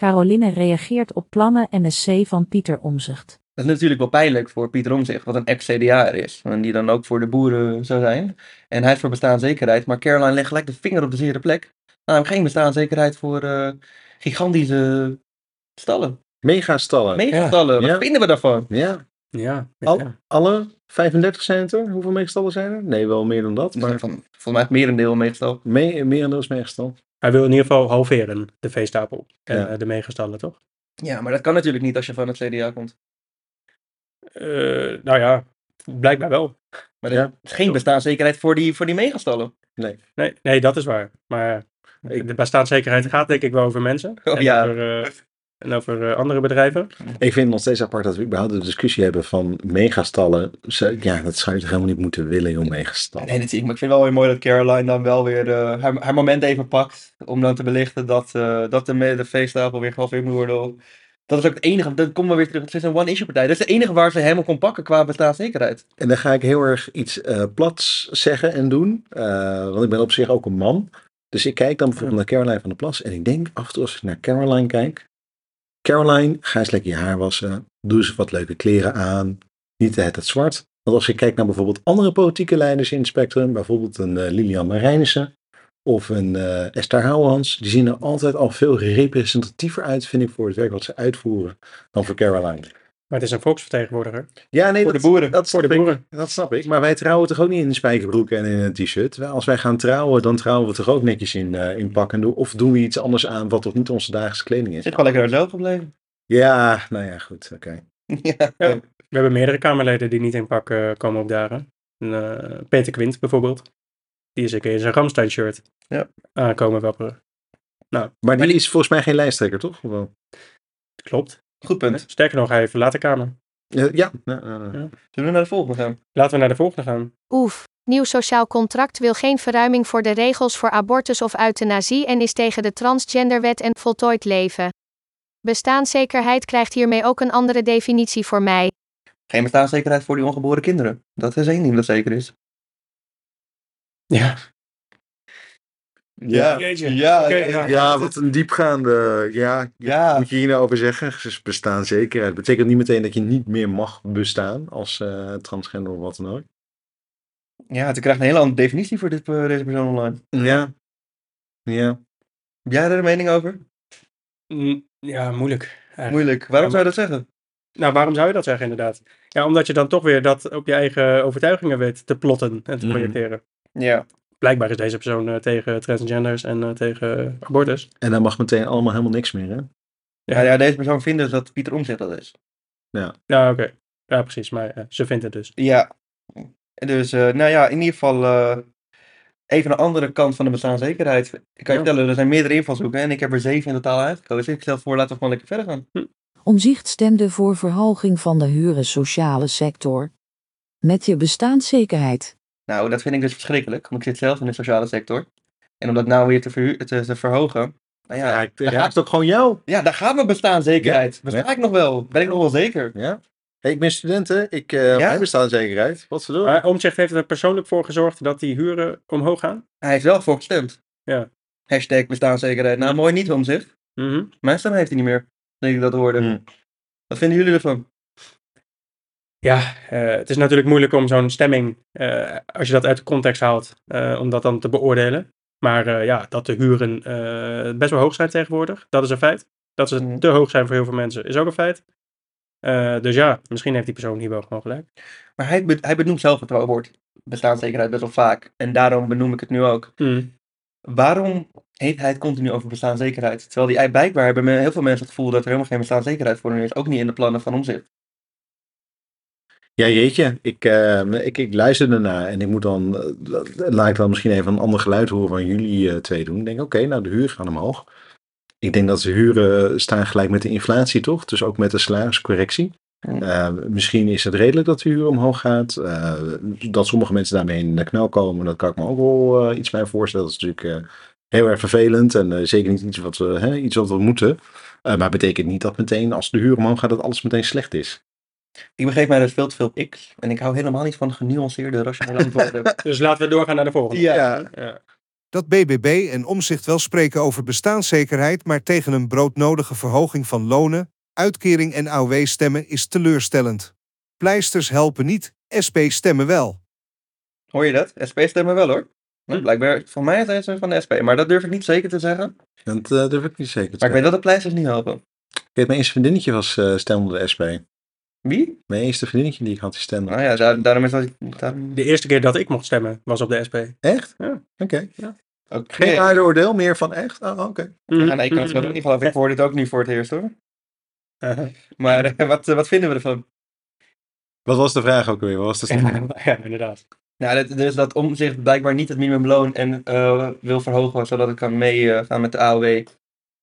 Caroline reageert op plannen NSC van Pieter Omzicht. Dat is natuurlijk wel pijnlijk voor Pieter Omtzigt, wat een ex-CDA'er is. En die dan ook voor de boeren zou zijn. En hij is voor bestaanszekerheid, maar Caroline legt gelijk de vinger op de zere plek. Nou, geen bestaanszekerheid voor eh, gigantische stallen. Megastallen. Megastallen, wat Ja. vinden we daarvan? ja. Ja, Al- Oh. ja. Alle 35 zijn het er? Hoeveel megastallen zijn er? Nee, wel meer dan dat. Maar Maar van, volgens mij is het merendeel een meegestal. me- merendeels megastal. Hij wil in ieder geval halveren, de veestapel. En Ja. eh, de megastallen, toch? Ja, maar dat kan natuurlijk niet als je van het CDA komt. Eh, nou ja, blijkbaar wel. Maar er is geen bestaanszekerheid voor die, voor die meegestallen. Nee, nee dat is waar. Maar ik, de bestaanszekerheid gaat denk ik wel over mensen. Oh, en ja. over, eh, en over eh, andere bedrijven. Ik vind het nog steeds apart dat we überhaupt de discussie hebben van megastallen. Ze- Ja, dat zou je toch helemaal niet moeten willen, joh, megastallen. Nee, dat zie ik. Maar ik vind het wel weer mooi dat Caroline dan wel weer eh, haar, haar moment even pakt. Om dan te belichten dat, eh, dat de, me- de feesttafel weer gehalveerd moet worden. Dat is ook het enige. Dat komt wel weer terug. Het is een one-issue partij. Dat is het enige waar ze helemaal kon pakken qua bestaanszekerheid. En dan ga ik heel erg iets eh, plats zeggen en doen. eh, want ik ben op zich ook een man. Dus ik kijk dan bijvoorbeeld naar Caroline van der Plas. En ik denk af en toe als ik naar Caroline kijk. Caroline, ga eens lekker je haar wassen. Doe eens wat leuke kleren aan. Niet de het, het zwart. Want als je kijkt naar bijvoorbeeld andere politieke leiders in het spectrum. Bijvoorbeeld een eh, Lilian Marijnissen. Of een eh, Esther Houwehans. Die zien er altijd al veel representatiever uit, vind ik, voor het werk wat ze uitvoeren. Dan voor Caroline. Maar het is een volksvertegenwoordiger. Ja, nee, Voor de dat, boeren. dat Voor de snap ik. boeren. Dat snap ik. Maar wij trouwen toch ook niet in een spijkerbroek en in een t-shirt. Terwijl Als wij gaan trouwen, dan trouwen we toch ook netjes in, eh, in pak en doe. Of doen we iets anders aan wat toch niet onze dagelijkse kleding Het is. zit gewoon lekker uit het gebleven. Ja, nou ja, goed. Oké. ja. eh, Ja. We hebben meerdere Kamerleden die niet in pak eh, komen opdagen. En, eh, Peter Quint bijvoorbeeld. Die is een keer in zijn Ramstein-shirt Ja. aankomen wapperen. Maar die is volgens mij geen lijsttrekker, toch? Of wel? Klopt. Goed punt. Sterker nog, hij verlaat de Kamer. Eh, ja. ja, ja, ja. Zullen we naar de volgende gaan? Laten we naar de volgende gaan. Oef. Nieuw sociaal contract wil geen verruiming voor de regels voor abortus of euthanasie en is tegen de transgenderwet en voltooid leven. Bestaanszekerheid krijgt hiermee ook een andere definitie voor mij. Geen bestaanszekerheid voor die ongeboren kinderen. Dat is één ding dat zeker is. Ja. Ja. Jeetje. Ja, Oké, ja, ja. Ja, wat een diepgaande. Ja, ja. moet je hier nou over zeggen? Ze bestaan zeker. Het betekent niet meteen dat je niet meer mag bestaan als eh, transgender of wat dan ook. Ja, ze krijgt een hele andere definitie voor dit, eh, deze persoon online. Ja. Ja. Heb jij daar een mening over? Mm, Ja, moeilijk. eigenlijk. Moeilijk. Waarom zou je dat zeggen? Nou, waarom zou je dat zeggen inderdaad? Ja, omdat je dan toch weer dat op je eigen overtuigingen weet te plotten en te Mhm. projecteren. Ja. Blijkbaar is deze persoon eh, tegen transgenders en eh, tegen abortus. En dan mag meteen allemaal helemaal niks meer, hè? Ja, ja, deze persoon vindt dus dat Pieter Omtzigt dat is. Ja, oké. Ja, precies. Maar eh, ze vindt het dus. Ja. Dus, eh, nou ja, in ieder geval eh, even een andere kant van de bestaanszekerheid. Ik kan je Ja. vertellen, er zijn meerdere invalshoeken en ik heb er zeven in totaal uitgekozen. Dus Ik stel voor, laten we gewoon lekker verder gaan. Omzicht stemde voor verhoging van de huren sociale sector. Met je bestaanszekerheid. Nou, dat vind ik dus verschrikkelijk, want ik zit zelf in de sociale sector. En om dat nou weer te, verhu- te, te verhogen, nou ja, Raakt, raakt ook gewoon jou. ja, daar gaat mijn bestaanszekerheid. Ja. Besta ik nog wel? Ben ik nog wel zeker? Ja. Hey, ik ben student, hè? Ik, eh Ja? Wij bestaan zeker uit. Wat ze doen. Maar Omtzigt heeft er persoonlijk voor gezorgd dat die huren omhoog gaan. Hij heeft wel voor gestemd. Ja. Hashtag bestaanszekerheid. Nou, mooi niet Omtzigt. Mhm. Mijn stem heeft hij niet meer, denk ik dat te horen. Hmm. Wat vinden jullie ervan? Ja, eh, het is natuurlijk moeilijk om zo'n stemming, eh, als je dat uit de context haalt, eh, om dat dan te beoordelen. Maar eh, ja, dat de huren eh, best wel hoog zijn tegenwoordig, dat is een feit. Dat ze Mhm. te hoog zijn voor heel veel mensen, is ook een feit. Eh, dus ja, misschien heeft die persoon hier wel gewoon gelijk. Maar hij, be- hij benoemt zelf het woord bestaanszekerheid best wel vaak. En daarom benoem ik het nu ook. Waarom heeft hij het continu over bestaanszekerheid? Terwijl die blijkbaar hebben me- heel veel mensen het gevoel dat er helemaal geen bestaanszekerheid voor hen is. Ook niet in de plannen van omzet. Ja, jeetje. Ik, eh, ik, ik luister ernaar en ik moet dan. eh, laat ik dan misschien even een ander geluid horen van jullie eh, twee doen. Ik denk, oké, nou, de huur gaan omhoog. Ik denk dat de huren staan gelijk met de inflatie, toch? Dus ook met de salariscorrectie. Hmm. Eh, misschien is het redelijk dat de huur omhoog gaat. Eh, dat sommige mensen daarmee in de knel komen, dat kan ik me ook wel eh, iets bij voorstellen. Dat is natuurlijk eh, heel erg vervelend en eh, zeker niet iets wat we, hè, iets wat we moeten. Eh, maar betekent niet dat meteen, als de huur omhoog gaat, dat alles meteen slecht is. Ik begeef mij dus veel te veel x. En ik hou helemaal niet van genuanceerde, rationele antwoorden. Dus laten we doorgaan naar de volgende. Ja. Ja. Dat BBB en Omzicht wel spreken over bestaanszekerheid, maar tegen een broodnodige verhoging van lonen, uitkering en AOW stemmen is teleurstellend. Pleisters helpen niet, SP stemmen wel. Hoor je dat? SP stemmen wel hoor. Nou, Hm. blijkbaar, voor mij zijn ze van de SP. Maar dat durf ik niet zeker te zeggen. Dat eh, durf ik niet zeker te Maar ik zeggen. weet dat de pleisters niet helpen. Ik weet, mijn eerste vriendinnetje was eh stemde de SP. Wie? Mijn eerste vriendinnetje die ik had, die stemde. Nou ja, daar- daarom is dat... Daarom... De eerste keer dat ik mocht stemmen was op de Mhm. SP. Echt? Ja. Oké. Oké. Geen aarde oordeel meer van echt? Oh, oké. Ja, Mm, nee, ik kan het wel niet geloven. Ik hoor dit ook nu voor het eerst hoor. Maar eh, wat, eh, wat vinden we ervan? Wat was de vraag ook weer? Wat was de stemming? Ja, inderdaad. Nou, dat, dus dat omzicht blijkbaar niet het minimumloon en eh, wil verhogen, zodat het kan meegaan gaan met de AOW.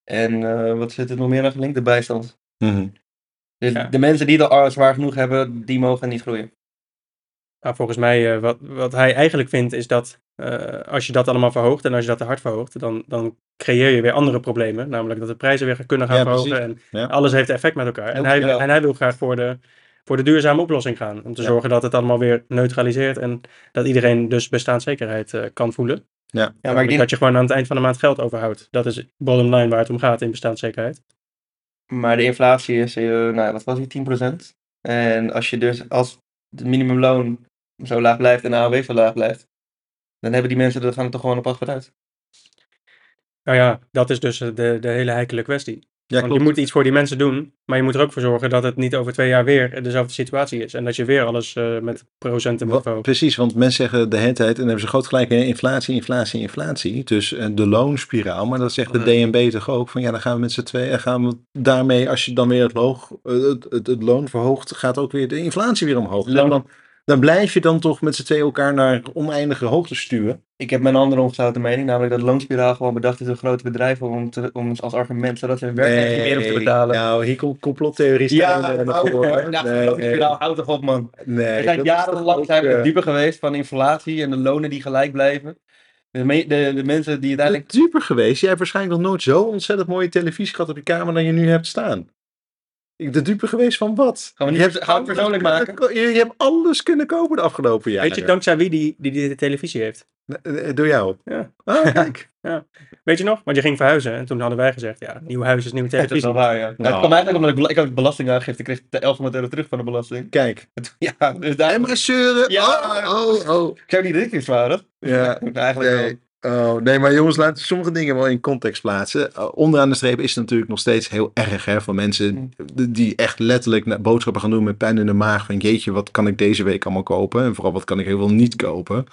En eh, wat zit er nog meer aan gelinkt? De bijstand. Mhm. Dus Ja. de mensen die het al zwaar genoeg hebben, die mogen niet groeien. Maar volgens mij, eh, wat, wat hij eigenlijk vindt, is dat eh, als je dat allemaal verhoogt en als je dat te hard verhoogt, dan, dan creëer je weer andere problemen. Namelijk dat de prijzen weer kunnen gaan Ja, precies. verhogen en Ja. alles heeft effect met elkaar. En Ook hij, wel. en hij wil graag voor de, voor de duurzame oplossing gaan. Om te Ja. zorgen dat het allemaal weer neutraliseert en dat iedereen dus bestaanszekerheid eh, kan voelen. Ja, maar maar ik denk, Dat je gewoon aan het eind van de maand geld overhoudt. Dat is bottom line waar het om gaat in bestaanszekerheid. maar de inflatie is, eh, nou, wat was die, 10%? En als je dus, als het minimumloon zo laag blijft en de AOW zo laag blijft, dan hebben die mensen, dat gaan er toch gewoon op achteruit. Nou ja, dat is dus eh, de, de hele heikele kwestie. Ja, Want je moet iets voor die mensen doen, maar je moet er ook voor zorgen dat het niet over twee jaar weer dezelfde situatie is. En dat je weer alles eh, met procenten moet Wa- verhogen. Precies, want mensen zeggen de hele tijd, en dan hebben ze groot gelijk, hè, inflatie, inflatie, inflatie. Dus eh, de loonspiraal, maar dat zegt de DNB toch ook, van ja, dan gaan we met z'n tweeën, gaan we daarmee, als je dan weer het, loog, eh, het, het, het loon verhoogt, gaat ook weer de inflatie weer omhoog. Loon- Dan, dan blijf je dan toch met z'n tweeën elkaar naar oneindige hoogte sturen. Ik heb mijn andere ongezouten mening, namelijk dat loonspiraal gewoon bedacht is door grote bedrijven om, te, om als argument zodat ze hun werknemers niet meer op te betalen. Nou, hier komt complottheorie nou, nou, loonspiraal, houd toch op man. nee, Er zijn dat is toch jarenlang ook, zijn we eh, dieper geweest van inflatie en de lonen die gelijk blijven. De, me- de, de mensen die uiteindelijk... super geweest. Jij hebt waarschijnlijk nog nooit zo ontzettend mooie televisie gehad op je kamer dan je nu hebt staan. Ik de dupe geweest van wat? Gaan we niet- Je hebt gaan we het persoonlijk alles kunnen ko- Je, je hebt alles kunnen kopen de afgelopen jaren. Weet je dankzij wie die, die, die de televisie heeft? Eh, eh, Door jou. Ja. Ah, kijk. Weet je nog? Want je ging verhuizen en toen hadden wij gezegd, ja, nieuw huis is nieuwe Dat is televisie. wel waar, ja. Nou, het kwam eigenlijk omdat ik, bela- ik had belastingaangifte, ik kreeg 1100 euro terug van de belasting. kijk. En toen- Ja, dus daar... En maar zeuren. Ja. Oh, oh, oh. Ik zou niet drie keer zwaar, dat? Ja. Eigenlijk wel. Nee. Oh, nee, maar jongens, laten we sommige dingen wel in context plaatsen. Eh, Onderaan de streep is het natuurlijk nog steeds heel erg hè, voor mensen d- die echt letterlijk na- boodschappen gaan doen met pijn in de maag. Van jeetje, wat kan ik deze week allemaal kopen? En vooral wat kan ik heel veel niet kopen?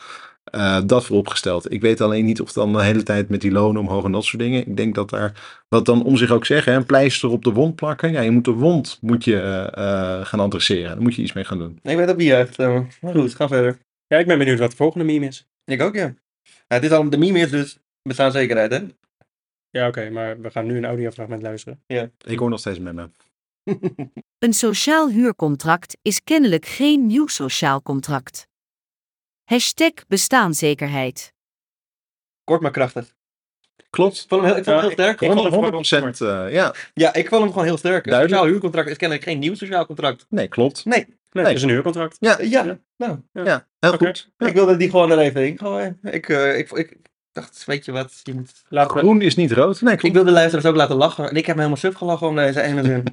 Eh, dat vooropgesteld. Ik weet alleen niet of dan de hele tijd met die lonen omhoog en dat soort dingen. Ik denk dat daar, wat dan om zich ook zeggen, hè, een pleister op de wond plakken. Ja, je moet de wond moet je, eh, eh, gaan adresseren. Daar moet je iets mee gaan doen. Nee, ik weet op wie echt. eh, Maar goed, ga verder. Ja, ik ben benieuwd wat de volgende meme is. Ik ook, ja. Nou, het is al, de meme is dus bestaanszekerheid, hè? Ja, oké, maar we gaan nu een audiofragment luisteren. Ik hoor nog steeds met me. Een sociaal huurcontract is kennelijk geen nieuw sociaal contract. Hashtag bestaanszekerheid. Kort maar krachtig. Ik Klopt. vond hem heel, ik vond hem heel Ja, sterk. ik- vond het 100%. eh, ja, Ja, ik vond hem gewoon heel sterk. Een Duidelijk. sociaal huurcontract is kennelijk geen nieuw sociaal contract. nee, klopt. Nee. Nee, Nee. het is een huurcontract. Ja, Eh, Ja, Ja. nou. Ja, heel Oké. goed. Ja. Ik wilde die gewoon er even in gooien. Ik, eh, ik, ik dacht, weet je wat, je moet... Laten we... Groen is niet rood. Nee, Ik klopt. wil de luisteraars ook laten lachen. En ik heb me helemaal suf gelachen om deze ene zin.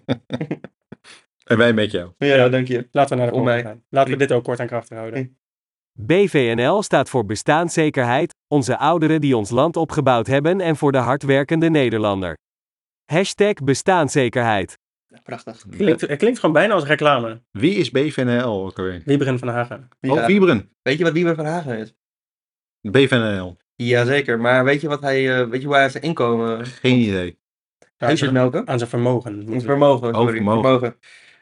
En wij met jou. ja, dank je. Laten we naar de Om mij. volgende gaan. Laten we dit ook kort en krachtig Hm. houden. BVNL staat voor bestaanszekerheid, onze ouderen die ons land opgebouwd hebben en voor de hardwerkende Nederlander. Hashtag bestaanszekerheid. Ja, Prachtig. Klinkt, het klinkt gewoon bijna als reclame. Eh, Wie is BVNL ook alweer? Wiebren van Hagen. Ja. Oh, Wiebren. Weet je wat Wieber van Hagen is? BVNL. Jazeker, maar weet je, wat hij, eh, weet je waar hij zijn inkomen... Geen idee. Huisjes melken? Aan zijn vermogen. Ons moeten we- vermogen, sorry. Oh, vermogen. vermogen.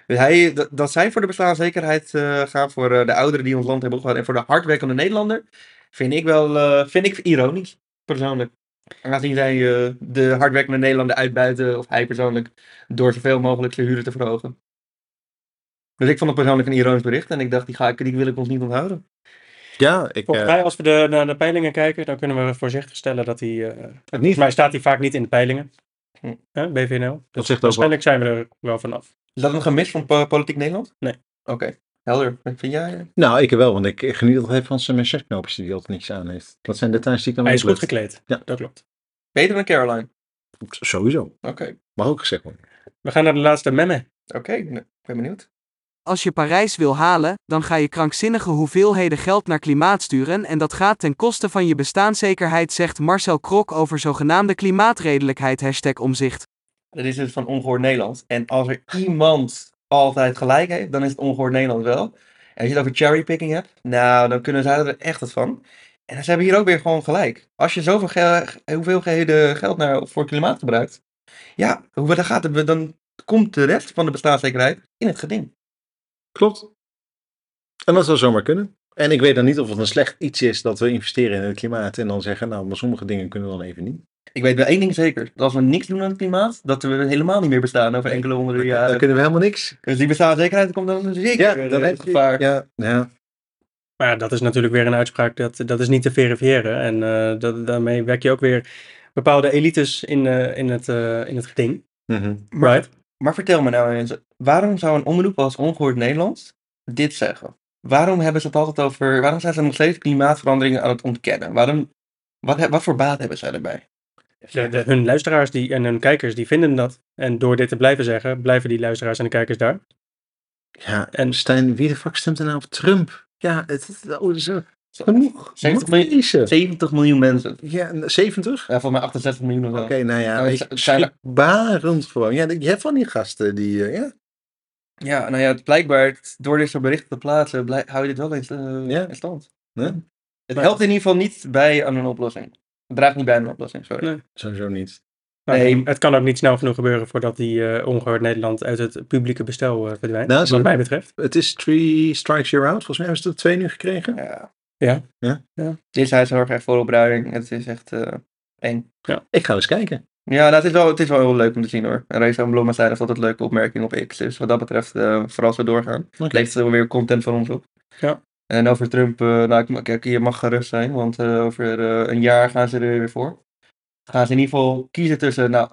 Dus hij, dat, dat zij voor de bestaanszekerheid eh, gaan voor eh, de ouderen die ons land hebben opgehouden en voor de hardwerkende Nederlander, vind ik wel eh, vind ik ironisch, persoonlijk. Aangezien zij eh, de hardwerkende Nederlander uitbuiten, of hij persoonlijk, door zoveel mogelijk zijn huren te verhogen. Dus ik vond het persoonlijk een ironisch bericht en ik dacht, die, ga ik, die wil ik ons niet onthouden. Ja, ik, Volgens eh mij, als we de, naar de peilingen kijken, dan kunnen we voorzichtig stellen dat hij... eh, het volgens niet. mij staat hij vaak niet in de peilingen. Hm. Hè, BVNL. Dat Dus zegt ook waarschijnlijk zijn we er wel vanaf. Is dat een gemis van po- Politiek Nederland? Nee. Oké, helder. Wat vind jij? eh? Nou, ik wel, want ik geniet altijd van zijn messerknoopjes die hij altijd niks aan heeft. Dat zijn details die ik dan Hij weer is goed lukt. gekleed. Ja. Dat klopt. Beter dan Caroline. Sowieso. Oké, Mag ook gezegd worden. We gaan naar de laatste memme. oké. Nou, ik ben benieuwd. Als je Parijs wil halen, dan ga je krankzinnige hoeveelheden geld naar klimaat sturen en dat gaat ten koste van je bestaanszekerheid, zegt Marcel Krok over zogenaamde klimaatredelijkheid hashtag omzicht. Dat is dus van Ongehoord Nederland. En als er iemand altijd gelijk heeft, dan is het Ongehoord Nederland wel. En als je het over cherrypicking hebt, nou, dan kunnen zij er echt wat van. En ze hebben hier ook weer gewoon gelijk. Als je zoveel ge hoeveelheden geld naar, voor klimaat gebruikt, ja, hoe, dan, gaat het, dan komt de rest van de bestaanszekerheid in het geding. Klopt. En dat zou zomaar kunnen. En ik weet dan niet of het een slecht iets is dat we investeren in het klimaat en dan zeggen, nou, maar sommige dingen kunnen we dan even niet. Ik weet wel één ding zeker. Dat als we niks doen aan het klimaat, dat we helemaal niet meer bestaan over enkele honderden Dan jaren. kunnen we helemaal niks. Dus die bestaanszekerheid komt dan zeker Ja, eh, dan het heb gevaar. je. Ja, ja. Maar ja, dat is natuurlijk weer een uitspraak, dat, dat is niet te verifiëren. En eh, dat, daarmee wek je ook weer bepaalde elites in, eh, in, het, eh, in het geding. Mhm. Right? Maar vertel me nou eens, waarom zou een omroep als Ongehoord Nederland dit zeggen? Waarom hebben ze het altijd over, waarom zijn ze nog steeds klimaatveranderingen aan het ontkennen? Waarom, wat, he- wat voor baat hebben zij erbij? De, de- hun luisteraars die, en hun kijkers, die vinden dat. En door dit te blijven zeggen, blijven die luisteraars en de kijkers daar. Ja, en En- Stijn, wie de fuck stemt er nou op Trump? Ja, het, het- oh, zo. Genoeg. 70 Moet miljoen. lezen. 70 miljoen mensen. Ja, en 70? Ja, volgens mij 68 miljoen of zo. Oké, nou ja, Nou, weet het je, zijn er- schrikbarend gewoon. Ja, je hebt van die gasten die, eh, ja, Ja, nou ja, het- blijkbaar het- door dit soort berichten te plaatsen, blij- hou je dit wel eens eh, Ja. in stand. Nee? Het Maar- helpt in ieder geval niet bij aan een oplossing. Het draagt niet bij aan een oplossing, sorry. Nee. sowieso niet. Nou, Nee. Het kan ook niet snel genoeg gebeuren voordat die eh, ongehoord Nederland uit het publieke bestel eh, verdwijnt. Nou, zo- wat mij betreft. Het is Three Strikes You're Out. Volgens mij hebben ze er twee nu gekregen. Ja. Ja. Ja. Ja. Dit huis zorgt echt voor opruiming. Het is echt eh, eng. Ik ga eens kijken. Ja, nou, het, is wel, het is wel heel leuk om te zien hoor. En Reza en Blomma zijn heeft altijd leuke opmerkingen op X. Dus wat dat betreft, eh, vooral zo doorgaan. Oké. Levert er weer content van ons op. Ja. En over Trump, eh, nou ik- kijk, je mag gerust zijn, want eh, over eh, een jaar gaan ze er weer voor. Gaan ze in ieder geval kiezen tussen, nou,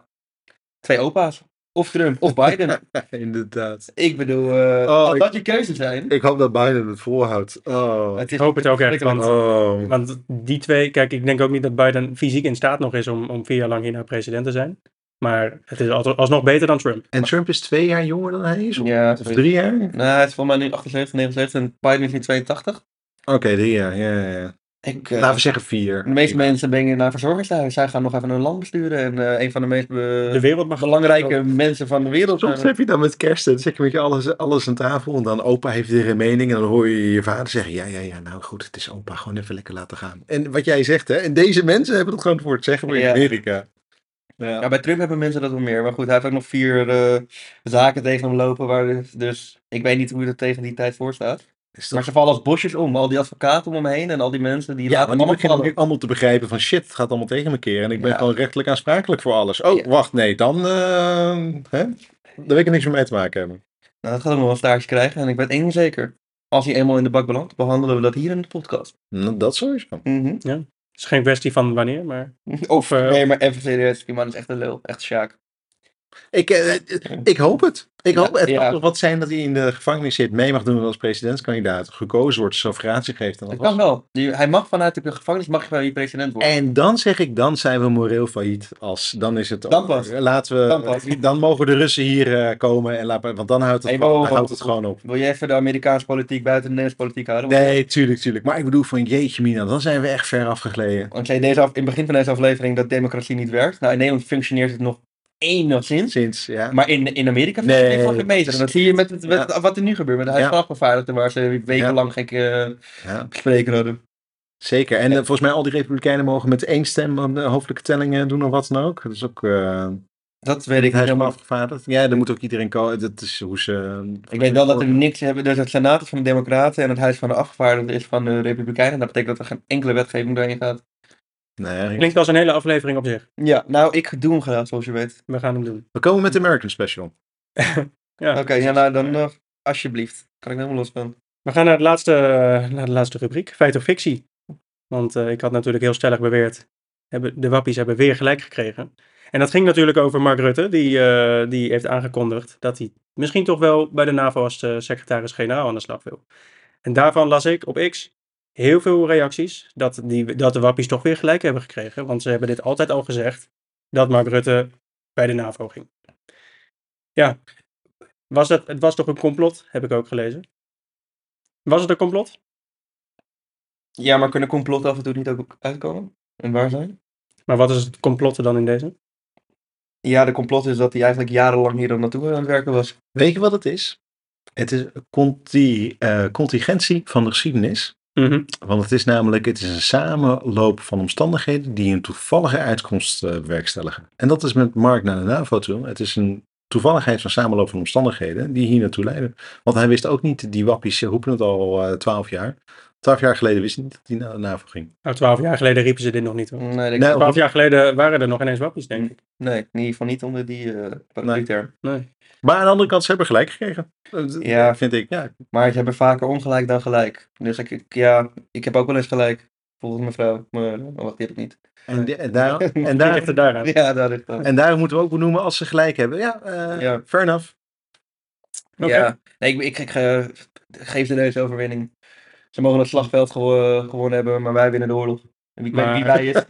twee opa's. Of Trump, of Biden. Inderdaad. ik bedoel, eh, Oh, als ik- dat je keuze zijn. Ik hoop dat Biden het volhoudt. Oh. het is Ik hoop het ook echt, verschrikkelijk. Oh. Want die twee, kijk, ik denk ook niet dat Biden fysiek in staat nog is om, om vier jaar lang hierna president te zijn. Maar het is altijd alsnog beter dan Trump. En Trump is twee jaar jonger dan hij is? Of, Ja, of zoiets. drie jaar? Oké, Nou, hij is volgens mij nu 78, 79 en Biden is nu 82. drie jaar. Ja, ja, ja. Ik, eh, Laten we zeggen vier. de meeste mensen brengen naar verzorgingshuis. Zij gaan nog even hun land besturen. En eh, een van de meest eh, De wereld mag belangrijke mensen van de wereld. Soms zijn. heb je dan met kerst, dan zet je met je alles, alles aan tafel. En dan opa heeft weer een mening. En dan hoor je je vader zeggen: Ja, ja, ja, nou goed, het is opa. Gewoon even lekker laten gaan. En wat jij zegt, hè? En deze mensen hebben het gewoon voor het zeggen voor in Ja. Amerika. Ja. Ja, bij Trump hebben mensen dat wel meer. Maar goed, hij heeft ook nog vier eh, zaken tegen hem lopen. Waar dus, dus ik weet niet hoe het tegen die tijd voor staat. Is dat- Maar ze vallen als bosjes om. Al die advocaten om hem heen en al die mensen die Ja, laten want hem nu begin allemaal vallen. ik allemaal te begrijpen van shit, het gaat allemaal tegen me keren. En ik ben Ja. gewoon rechtelijk aansprakelijk voor alles. Oh, Ja. wacht, nee, dan, eh, hè? dan wil ik er niks meer mee te maken hebben. Nou, dat gaat ook nog wel een staartje krijgen. En ik weet één ding zeker. Als hij eenmaal in de bak belandt, behandelen we dat hier in de podcast. Nou, dat sowieso. Mhm. Het is geen kwestie van wanneer, maar Of, eh, nee, maar even serieus. Die man is echt een lul. Echt Sjaak. Ik, eh, eh, ik hoop het. Ik Ja, hoop het. ja. kan toch wat zijn dat hij in de gevangenis zit, mee mag doen als presidentskandidaat, gekozen wordt, zo'n gratie geeft. En, Dat dat kan was. wel. Die- hij mag vanuit de gevangenis mag je wel je president worden. en dan zeg ik, dan zijn we moreel failliet. Als, dan is het. Dan over. pas. Laten we, eh, Dan dan, pas. mogen de Russen hier eh, komen, en laten, we- want dan houdt het, Hey, dan wow, wow, houdt wow. het gewoon op. Wil je even de Amerikaanse politiek buiten de Nederlandse politiek houden? Want- Nee, tuurlijk, tuurlijk. Maar ik bedoel van jeetje mina, dan zijn we echt ver afgegleden. Want ik zei deze af, in het begin van deze aflevering dat democratie niet werkt. Nou, in Nederland functioneert het nog enigszins. Sinds, ja. Maar in, in Amerika Nee, functioneert het nog dat meter. is- En dat zie je met, het, met Ja. het- wat er nu gebeurt. Met de huis Ja. van afgevaardigden waar ze wekenlang gekke ja, bespreken hadden. zeker. En eh, volgens mij al die republikeinen mogen met één stem aan de hoofdelijke tellingen doen of wat dan ook. Dat is ook... eh Dat weet ik niet hij is maar helemaal. afgevaardigd. Ja, dan moet ook iedereen komen. Dat is hoe ze... Ik weet wel dat er niks hebben. Dus het Senaat is van de Democraten en het Huis van de Afgevaardigden is van de Republikeinen. Dat betekent dat er geen enkele wetgeving doorheen gaat. Nee, klinkt als een hele aflevering op zich. Ja, nou, ik doe hem graag, zoals je weet. We gaan hem doen. we komen met de American Special. Ja. Oké, ja, nou dan eh, alsjeblieft. Kan ik helemaal los van. We gaan naar, het laatste, eh, naar de laatste rubriek, feit of fictie. Want eh, ik had natuurlijk heel stellig beweerd, hebben, de wappies hebben weer gelijk gekregen. En dat ging natuurlijk over Mark Rutte, die, eh, die heeft aangekondigd dat hij misschien toch wel bij de NAVO als eh, secretaris-generaal aan de slag wil. En daarvan las ik op X heel veel reacties dat, die, dat de wappies toch weer gelijk hebben gekregen. Want ze hebben dit altijd al gezegd, dat Mark Rutte bij de NAVO ging. Ja, was dat, het was toch een complot, heb ik ook gelezen. Was het een complot? Ja, maar kunnen complotten af en toe niet ook uitkomen? En waar zijn? Maar wat is het complotten dan in deze? Ja, de complot is dat hij eigenlijk jarenlang hier dan naartoe aan het werken was. Weet je wat het is? Het is conti, eh, contingentie van de geschiedenis. Want het is namelijk het is een samenloop van omstandigheden die een toevallige uitkomst eh, bewerkstelligen. En dat is met Mark naar de NAVO toe. Het is een toevalligheid van samenloop van omstandigheden die hier naartoe leiden. Want hij wist ook niet, die wappies eh, roepen het al twaalf jaar. Twaalf jaar geleden wist hij niet dat hij naar de NAVO ging. Nou, twaalf jaar geleden riepen ze dit nog niet hoor. Nee, denk ik- Nee, Twaalf jaar geleden waren er nog ineens wappies, denk ik. nee, in ieder geval niet onder die eh Nee. paraplu-term. Nee. Maar aan de andere kant, ze hebben gelijk gekregen. Eh, d- Ja. Vind ik, ja. Maar ze hebben vaker ongelijk dan gelijk. Dus ik, ik- ja, ik heb ook wel eens gelijk. Volgens mevrouw. Maar, oh, wacht, die heb ik niet. En, di- en, daar, en, Daar daar, ligt het daaraan. Ja, daar ligt dat. en daar moeten we ook benoemen als ze gelijk hebben. Ja, eh, Ja. fair enough. Oké. Ja, nee, ik, ik, ik, eh, geef de deze overwinning. Ze mogen het slagveld gewo- gewonnen hebben, maar wij winnen de oorlog. En wie, Maar- wie wij is.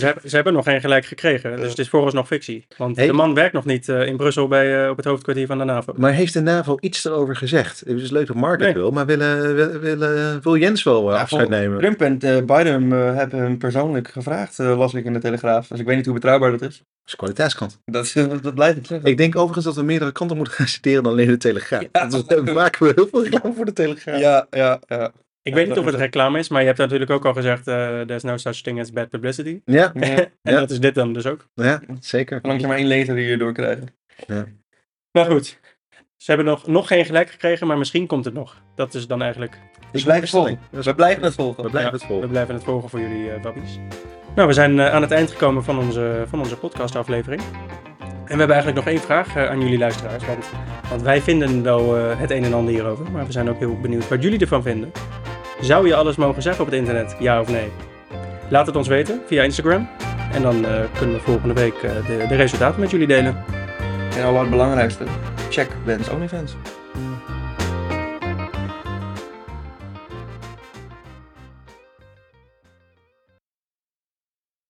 Ze, hebben- ze hebben nog geen gelijk gekregen, dus het is vooralsnog fictie. Want Hey. de man werkt nog niet eh, in Brussel bij, eh, op het hoofdkwartier van de NAVO. Maar heeft de NAVO iets erover gezegd? Het is leuk dat Mark het Nee. wil, maar willen, wil, willen- wil Jens wel eh, Ja, afscheid vol- nemen? Trump en eh, Biden eh, hebben hem persoonlijk gevraagd, eh, las ik in de Telegraaf. Dus ik weet niet hoe betrouwbaar dat is. Dat is kwaliteitskant. Dat, is- dat blijf ik zeggen. Ik denk overigens dat we meerdere kanten moeten gaan citeren dan alleen de Telegraaf. Ja. Dat is- dan maken we heel veel reclame voor de Telegraaf. Ja, ja, ja. Ik weet niet dat of het is- reclame is, maar je hebt natuurlijk ook al gezegd, eh there's no such thing as bad publicity. Ja, ja. En Ja. dat is dit dan dus ook. ja, zeker. Zolang ze maar één lezer hier doorkrijgen. Nou goed, ze hebben nog, nog geen gelijk gekregen, maar misschien komt het nog. Dat is dan eigenlijk, Dus blijf het volgen. Dat We is- blijven het volgen. We blijven Ja. het we volgen. blijven het volgen voor jullie eh babbies. Nou, we zijn eh, aan het eind gekomen van onze, van onze podcastaflevering. En we hebben eigenlijk nog één vraag eh, aan jullie luisteraars. Want, want wij vinden wel eh, het een en ander hierover, maar we zijn ook heel benieuwd wat jullie ervan vinden. Zou je alles mogen zeggen op het internet, ja of nee? Laat het ons weten via Instagram. En dan eh, kunnen we volgende week eh, de, de resultaten met jullie delen. En al het belangrijkste, check Ben's OnlyFans.